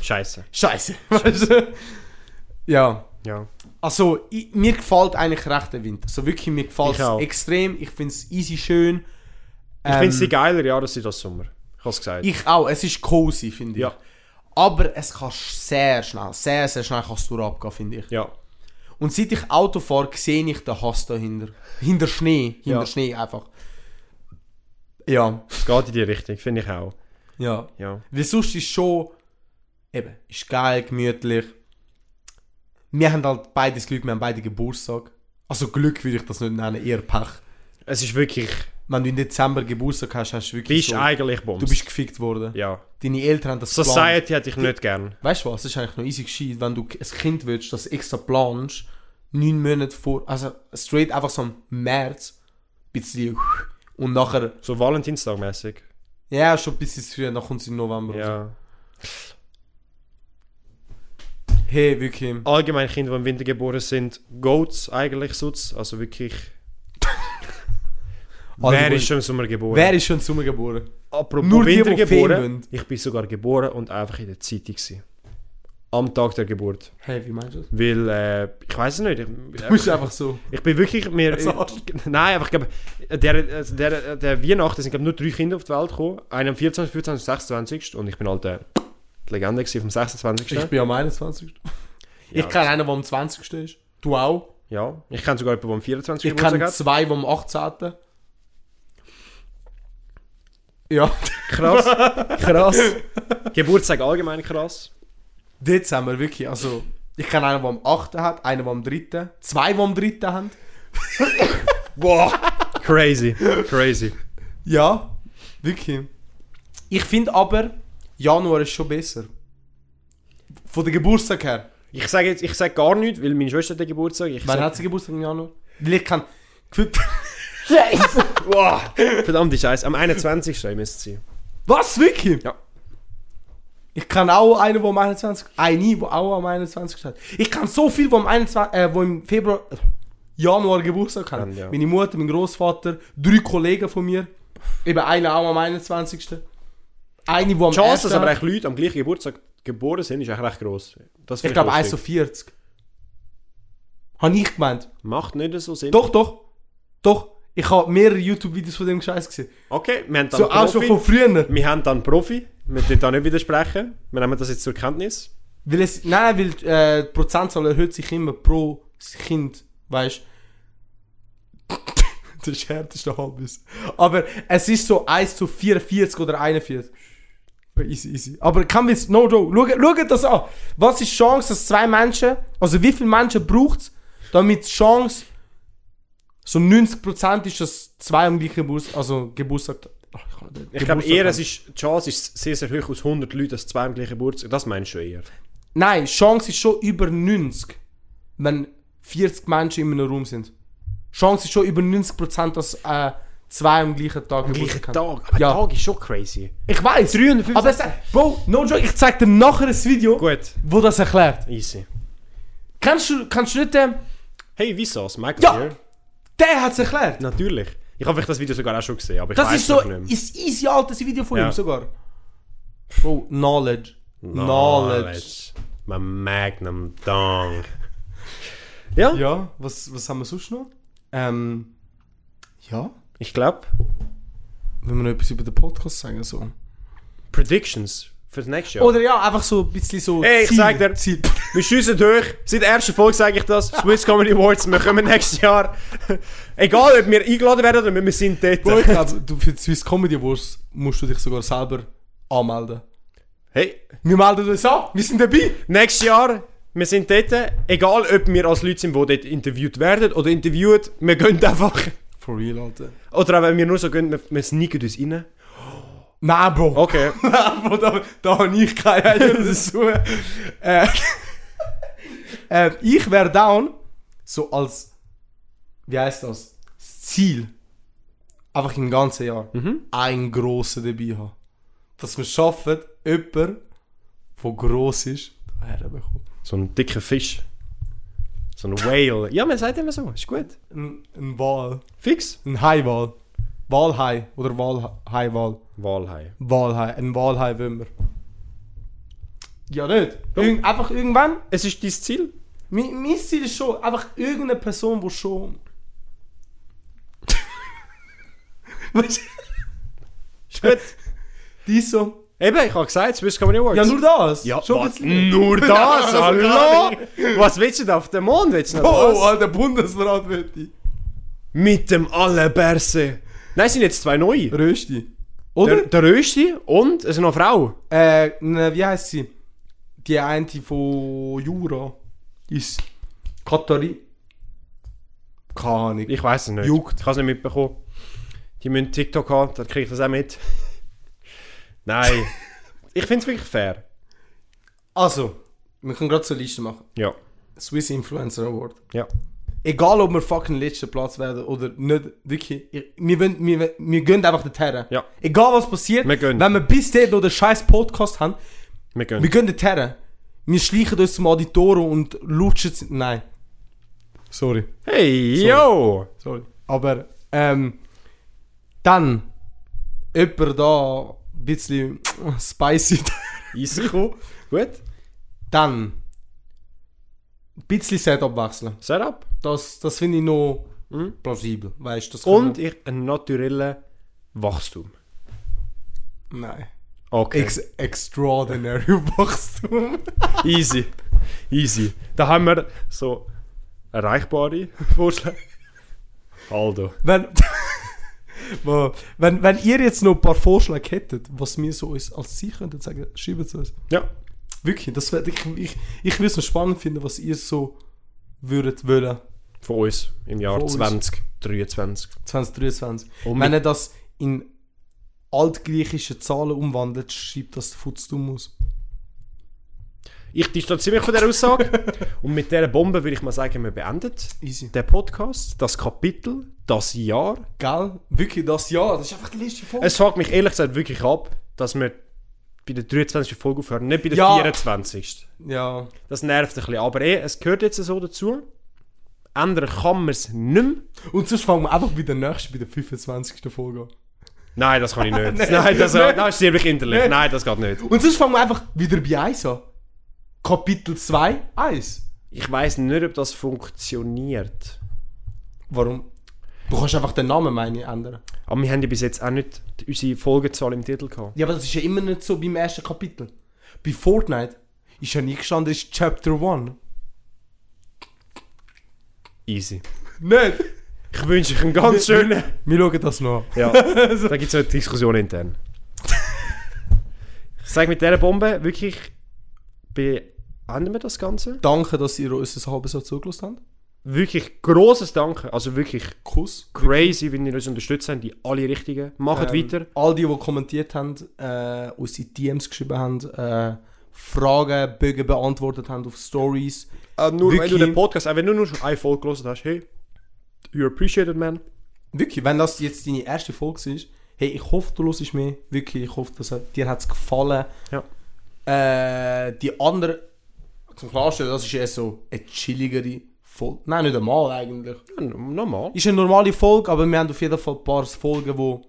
scheiße. Scheiße. Weißt du? ja. Ja. Also, ich, mir gefällt eigentlich recht der Winter. So wirklich, mir gefällt Ich auch. es extrem. Ich finde es easy schön. Ich finde es die geiler Jahre als das Sommer. Ich habe es gesagt. Ähm. Ich auch. Es ist cozy, finde ich. Ja. Aber es kann sch- sehr schnell, sehr, sehr schnell kannst du abgehen, finde ich. ja. Und seit ich Auto fahre, sehe ich den Hass dahinter. Hinter Schnee. Hinter Ja. Schnee einfach. Ja. Es geht in die Richtung, finde ich auch. Ja. Ja. Weil sonst ist schon... Eben, ist geil, gemütlich. Wir haben halt beides Glück, wir haben beide Geburtstag. Also Glück würde ich das nicht nennen, eher Pech. Es ist wirklich. wenn du im Dezember Geburtstag hast, hast du wirklich Bist so, eigentlich Bums. du bist gefickt worden. Ja. Deine Eltern haben das geplant. Society hätte ich nicht gern. Weißt du was? Es ist eigentlich noch easy gescheit, wenn du ein Kind willst, das extra planst, neun Monate vor, also straight einfach so im März, bisschen und nachher, So Valentinstagmäßig. ja, schon ein bisschen zu früh, dann kommt es im November. und Ja. so. Hey, wirklich. Oh, Allgemein Kinder, die im Winter geboren sind, Goats eigentlich Sutz. Also wirklich. wer Allgemein- ist schon im Sommer geboren? Wer ist schon im Sommer geboren? Apropos Nur die, die Winter Ferien geboren. wollen. Ich bin sogar geboren und einfach in der Zeitung. Gewesen. Am Tag der Geburt. Hey, wie meinst du das? Weil, äh, ich weiß es nicht. Ich, äh, Du bist einfach so. Ich bin wirklich mir. Ein Arsch. Nein, aber ich glaube, der, also der, der Weihnachten sind glaube nur drei Kinder auf die Welt gekommen. Einer am 24., 25., 26. Und ich bin halt äh, die Legende gewesen vom 26. Ich bin am 21. Ja. ich kenne einen, der am 20. ist. Du auch? ja, ich kenne sogar jemanden, der am 24. Ich kenne Geburtstag zwei, die am 18. Ja. hat. Krass, krass. Geburtstag allgemein krass. Dort haben wir wirklich, also ich kenne einen, der am 8. hat, einen, der am 3. Zwei, die am 3. haben. Wow. Crazy, crazy. Ja, wirklich. Ich finde aber, Januar ist schon besser. Von der Geburtstag her. Ich sage jetzt, ich sage gar nichts, weil meine Schwester hat den Geburtstag. Ich Wann sag- hat sie Geburtstag im Januar? Weil ich kann... wow. Verdammte Scheiße, am 21. müsste sie. Was, wirklich? Ja. Ich kann auch einen, der um am 21. Eine, die auch am 21. hat. Ich kann so viel, die am 21. Äh, wo im Februar, äh, Januar Geburtstag haben. Ja. Meine Mutter, mein Großvater, drei Kollegen von mir. Eben einer auch am 21. Eine, die am Die Chance, 1. dass aber echt Leute am gleichen Geburtstag geboren sind, ist eigentlich recht gross. Das Ich finde glaube 1 lustig. zu 40. Habe ich gemeint. Macht nicht so Sinn. Doch, doch. Doch. Ich habe mehrere YouTube-Videos von dem Scheiß gesehen. Okay, wir haben dann So, auch schon Profi. von früher. Wir haben dann Profi. Wir dürfen da nicht widersprechen. Wir nehmen das jetzt zur Kenntnis. Weil es, nein, weil äh, die Prozentzahl erhöht sich immer pro Kind, weißt du? Der Scherz ist noch halbes. Aber es ist so 1 zu 44 oder 41. Easy, easy. Aber kann man no joke. Schau, schau das an. Was ist die Chance, dass zwei Menschen, also wie viele Menschen braucht es, damit die Chance so 90% ist, dass zwei am gleichen Geburtstag, also Geburtstag. Ach, ich kann nicht- Ich glaube Geburtstag eher, haben. es ist, die Chance ist sehr, sehr hoch aus 100 Leuten, dass zwei am gleichen Geburtstag. Das meinst du eher. Nein, Chance ist schon über 90, wenn 40 Menschen in einem Raum sind. Chance ist schon über 90%, dass äh, zwei am gleichen Tag Am gleichen Geburtstag Tag. haben. Aber Ja. Tag ist schon crazy. Ich weiß. 350. Aber es, Bro, no joke, ich zeig dir nachher ein Video, Gut. wo das erklärt. Easy. Kannst du, kannst du nicht den... Hey, wie saß Michael Ja. Beer? Der hat es erklärt. Natürlich. Ich habe vielleicht das Video sogar auch schon gesehen, aber ich Das weiß ist so nicht ein mehr. easy altes Video von Ja. ihm sogar. Bro, Knowledge. Knowledge. Man Magnum Dong. Ja, Ja, was, was haben wir sonst noch? Ähm, ja, ich glaube, wenn wir noch etwas über den Podcast sagen, so... Predictions für das nächste Jahr. Oder ja, einfach so ein bisschen so. Ey, ich Ziel- sag dir- Ziel. Wir schiessen durch. Seit der ersten Folge sage ich das. Swiss Comedy Awards, wir kommen nächstes Jahr. Egal, ob wir eingeladen werden oder wir sind dort. also, Bro, ich glaub, du für die Swiss Comedy Awards musst du dich sogar selber anmelden. Hey, Wir melden uns an, wir sind dabei. nächstes Jahr, wir sind dort, egal ob wir als Leute sind, die dort interviewt werden oder interviewt, wir gehen einfach. For real, Alter. Oder auch wenn wir nur so gehen, wir, wir sneaken uns rein. Nein, Bro. Okay. Bro, da, da habe ich keine Ahnung, das ist so. Äh, äh, ich wäre down, so als, wie heißt das, das Ziel, einfach im ganzen Jahr, einen grossen dabei haben. Dass wir schaffen, jemanden, der gross ist, herbekommen. So ein dicker Fisch. So ein Whale. Ja, man sagt immer so, ist gut. Ein, ein Wal. Fix. Ein Haiwal. Walhai oder Walhaiwal. Walhai. Walhai. Ein Walhai wollen wir. Ja, nicht. Irgend, einfach irgendwann Es ist dein Ziel. Mein, mein Ziel ist schon einfach irgendeine Person, die schon. weißt du, Ist gut. die ist so. Eben, ich habe gesagt, Swiss Comedy Awards. Ja, nur das. Ja, schon was? Nur das? Also Hallo? gar Was willst du da auf dem Mond? Willst du noch Oh, was? oh, der Bundesrat wird die. Mit dem Allerberse. Nein, es sind jetzt zwei neue. Rösti. Der, Oder? der Rösti und es ist noch eine Frau. äh, ne, wie heißt sie? Die eine von Jura. Ist. Katharina. Keine Ahnung. Ich weiß es nicht. Juckt. Ich habe es nicht mitbekommen. Die müssen TikTok haben, dann kriege ich das auch mit. Nein. ich finde es wirklich fair. Also, wir können gerade so eine Liste machen: Ja. Swiss Influencer Award. Ja. Egal, ob wir fucking letzter Platz werden oder nicht, wirklich, ich- wir, wollen, wir, wollen- wir gehen einfach dorthin. Ja. Egal was passiert, Wir gehen. wenn wir bis dahin noch den scheiß Podcast haben, Wir gehen. wir gehen dorthin. Wir schleichen uns zum Auditorium und lutschen... z- Nein. Sorry. Hey, yo! Sorry. Aber, ähm, dann jemand da ein bisschen spicy, Easy. Gut. dann ein bisschen Setup wechseln. Setup. Das, das finde ich noch plausibel, weißt du. das können Hm? Und ich einen naturellen Wachstum. wir- Nein. Okay. Ex extraordinary Wachstum. Easy. Easy. Da haben wir so erreichbare Vorschläge. Aldo. wenn, Wo- wenn, wenn ihr jetzt noch ein paar Vorschläge hättet, was wir so uns als Sie könnten sagen, schreibt es uns. Ja. Wirklich, das wär, ich, ich, ich würde es noch spannend finden, was ihr so würdet wollen. Von uns im Jahr Von uns. 2023. 2023. Und wenn mit- ihr das in altgriechische Zahlen umwandelt, schreibt das Futztum aus. Ich distanziere mich von dieser Aussage. Und mit dieser Bombe würde ich mal sagen, wir beenden Easy. den Podcast, das Kapitel, das Jahr. Gell? Wirklich, das ja, das ist einfach die letzte Folge. Es fuckt mich ehrlich gesagt wirklich ab, dass wir bei der 23. Folge aufhören, nicht bei der Ja. 24. ja. Das nervt ein bisschen. Aber eh, es gehört jetzt so dazu. Ändern kann man es nicht mehr. Und sonst fangen wir einfach bei der nächsten, bei der 25. Folge an. Nein, das kann ich nicht. Nein, das, Nein. das ist ziemlich hinterlich. Nein. Nein, das geht nicht. Und sonst fangen wir einfach wieder bei 1 an. Kapitel 2, 1. Ich weiß nicht, ob das funktioniert. Warum? Du kannst einfach den Namen, meine ich, ändern. Aber wir haben ja bis jetzt auch nicht die- unsere Folgenzahl im Titel gehabt. Ja, aber das ist ja immer nicht so beim ersten Kapitel. Bei Fortnite ist ja nie gestanden, ist Chapter 1. Easy. Nicht? Ich wünsche euch einen ganz schönen. Wir schauen das noch. an. Ja, da gibt es eine Diskussion intern. Ich sage mit dieser Bombe wirklich, beenden wir das Ganze. Danke, dass ihr uns ein halbes Jahr zugelassen habt. Wirklich großes Danke. Also wirklich Kuss. crazy, wenn ihr uns unterstützt habt, in alle Richtungen. Macht Ähm, weiter. All die, die kommentiert haben, äh, uns in DMs geschrieben haben, äh, Fragen, Bögen beantwortet haben auf Stories. Also nur wenn du den Podcast, also wenn du nur schon eine Folge gelesen hast, hey, you appreciated, man. Wirklich, wenn das jetzt deine erste Folge ist, hey, ich hoffe, du hörst mehr. Wirklich, ich hoffe, dass, dir hat es gefallen. Ja. Äh, die andere, zum Klarstellen, das ist eher so eine chilligere Folge. Nein, nicht einmal eigentlich. Normal. Ist eine normale Folge, aber wir haben auf jeden Fall ein paar Folgen, die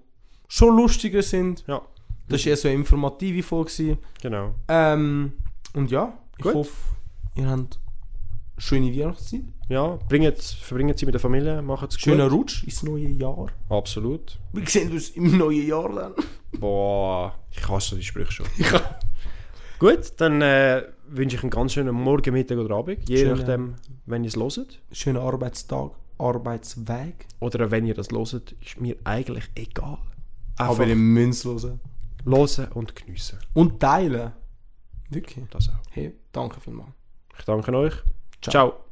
schon lustiger sind. Ja, Das war eher so eine informative Folge. gewesen. genau. Ähm, und ja, ich Gut. hoffe, ihr habt schöne Weihnachtszeit, Ja, bringt, verbringt sie mit der Familie, macht es schönen Rutsch ins neue Jahr. Absolut. Wir sehen uns im neuen Jahr dann. Boah, ich hasse die Sprüche schon. Gut, dann äh, wünsche ich einen ganz schönen Morgen, Mittag oder Abend. Je Schönen- nachdem, wenn ihr es hört. Schönen Arbeitstag, Arbeitsweg. Oder wenn ihr das hört, ist mir eigentlich egal. Einfach Aber ihr müsst hören. hören und geniessen. Und teilen. Wirklich. Das auch. Hey, danke vielmals. Ich danke euch. Ciao. Ciao.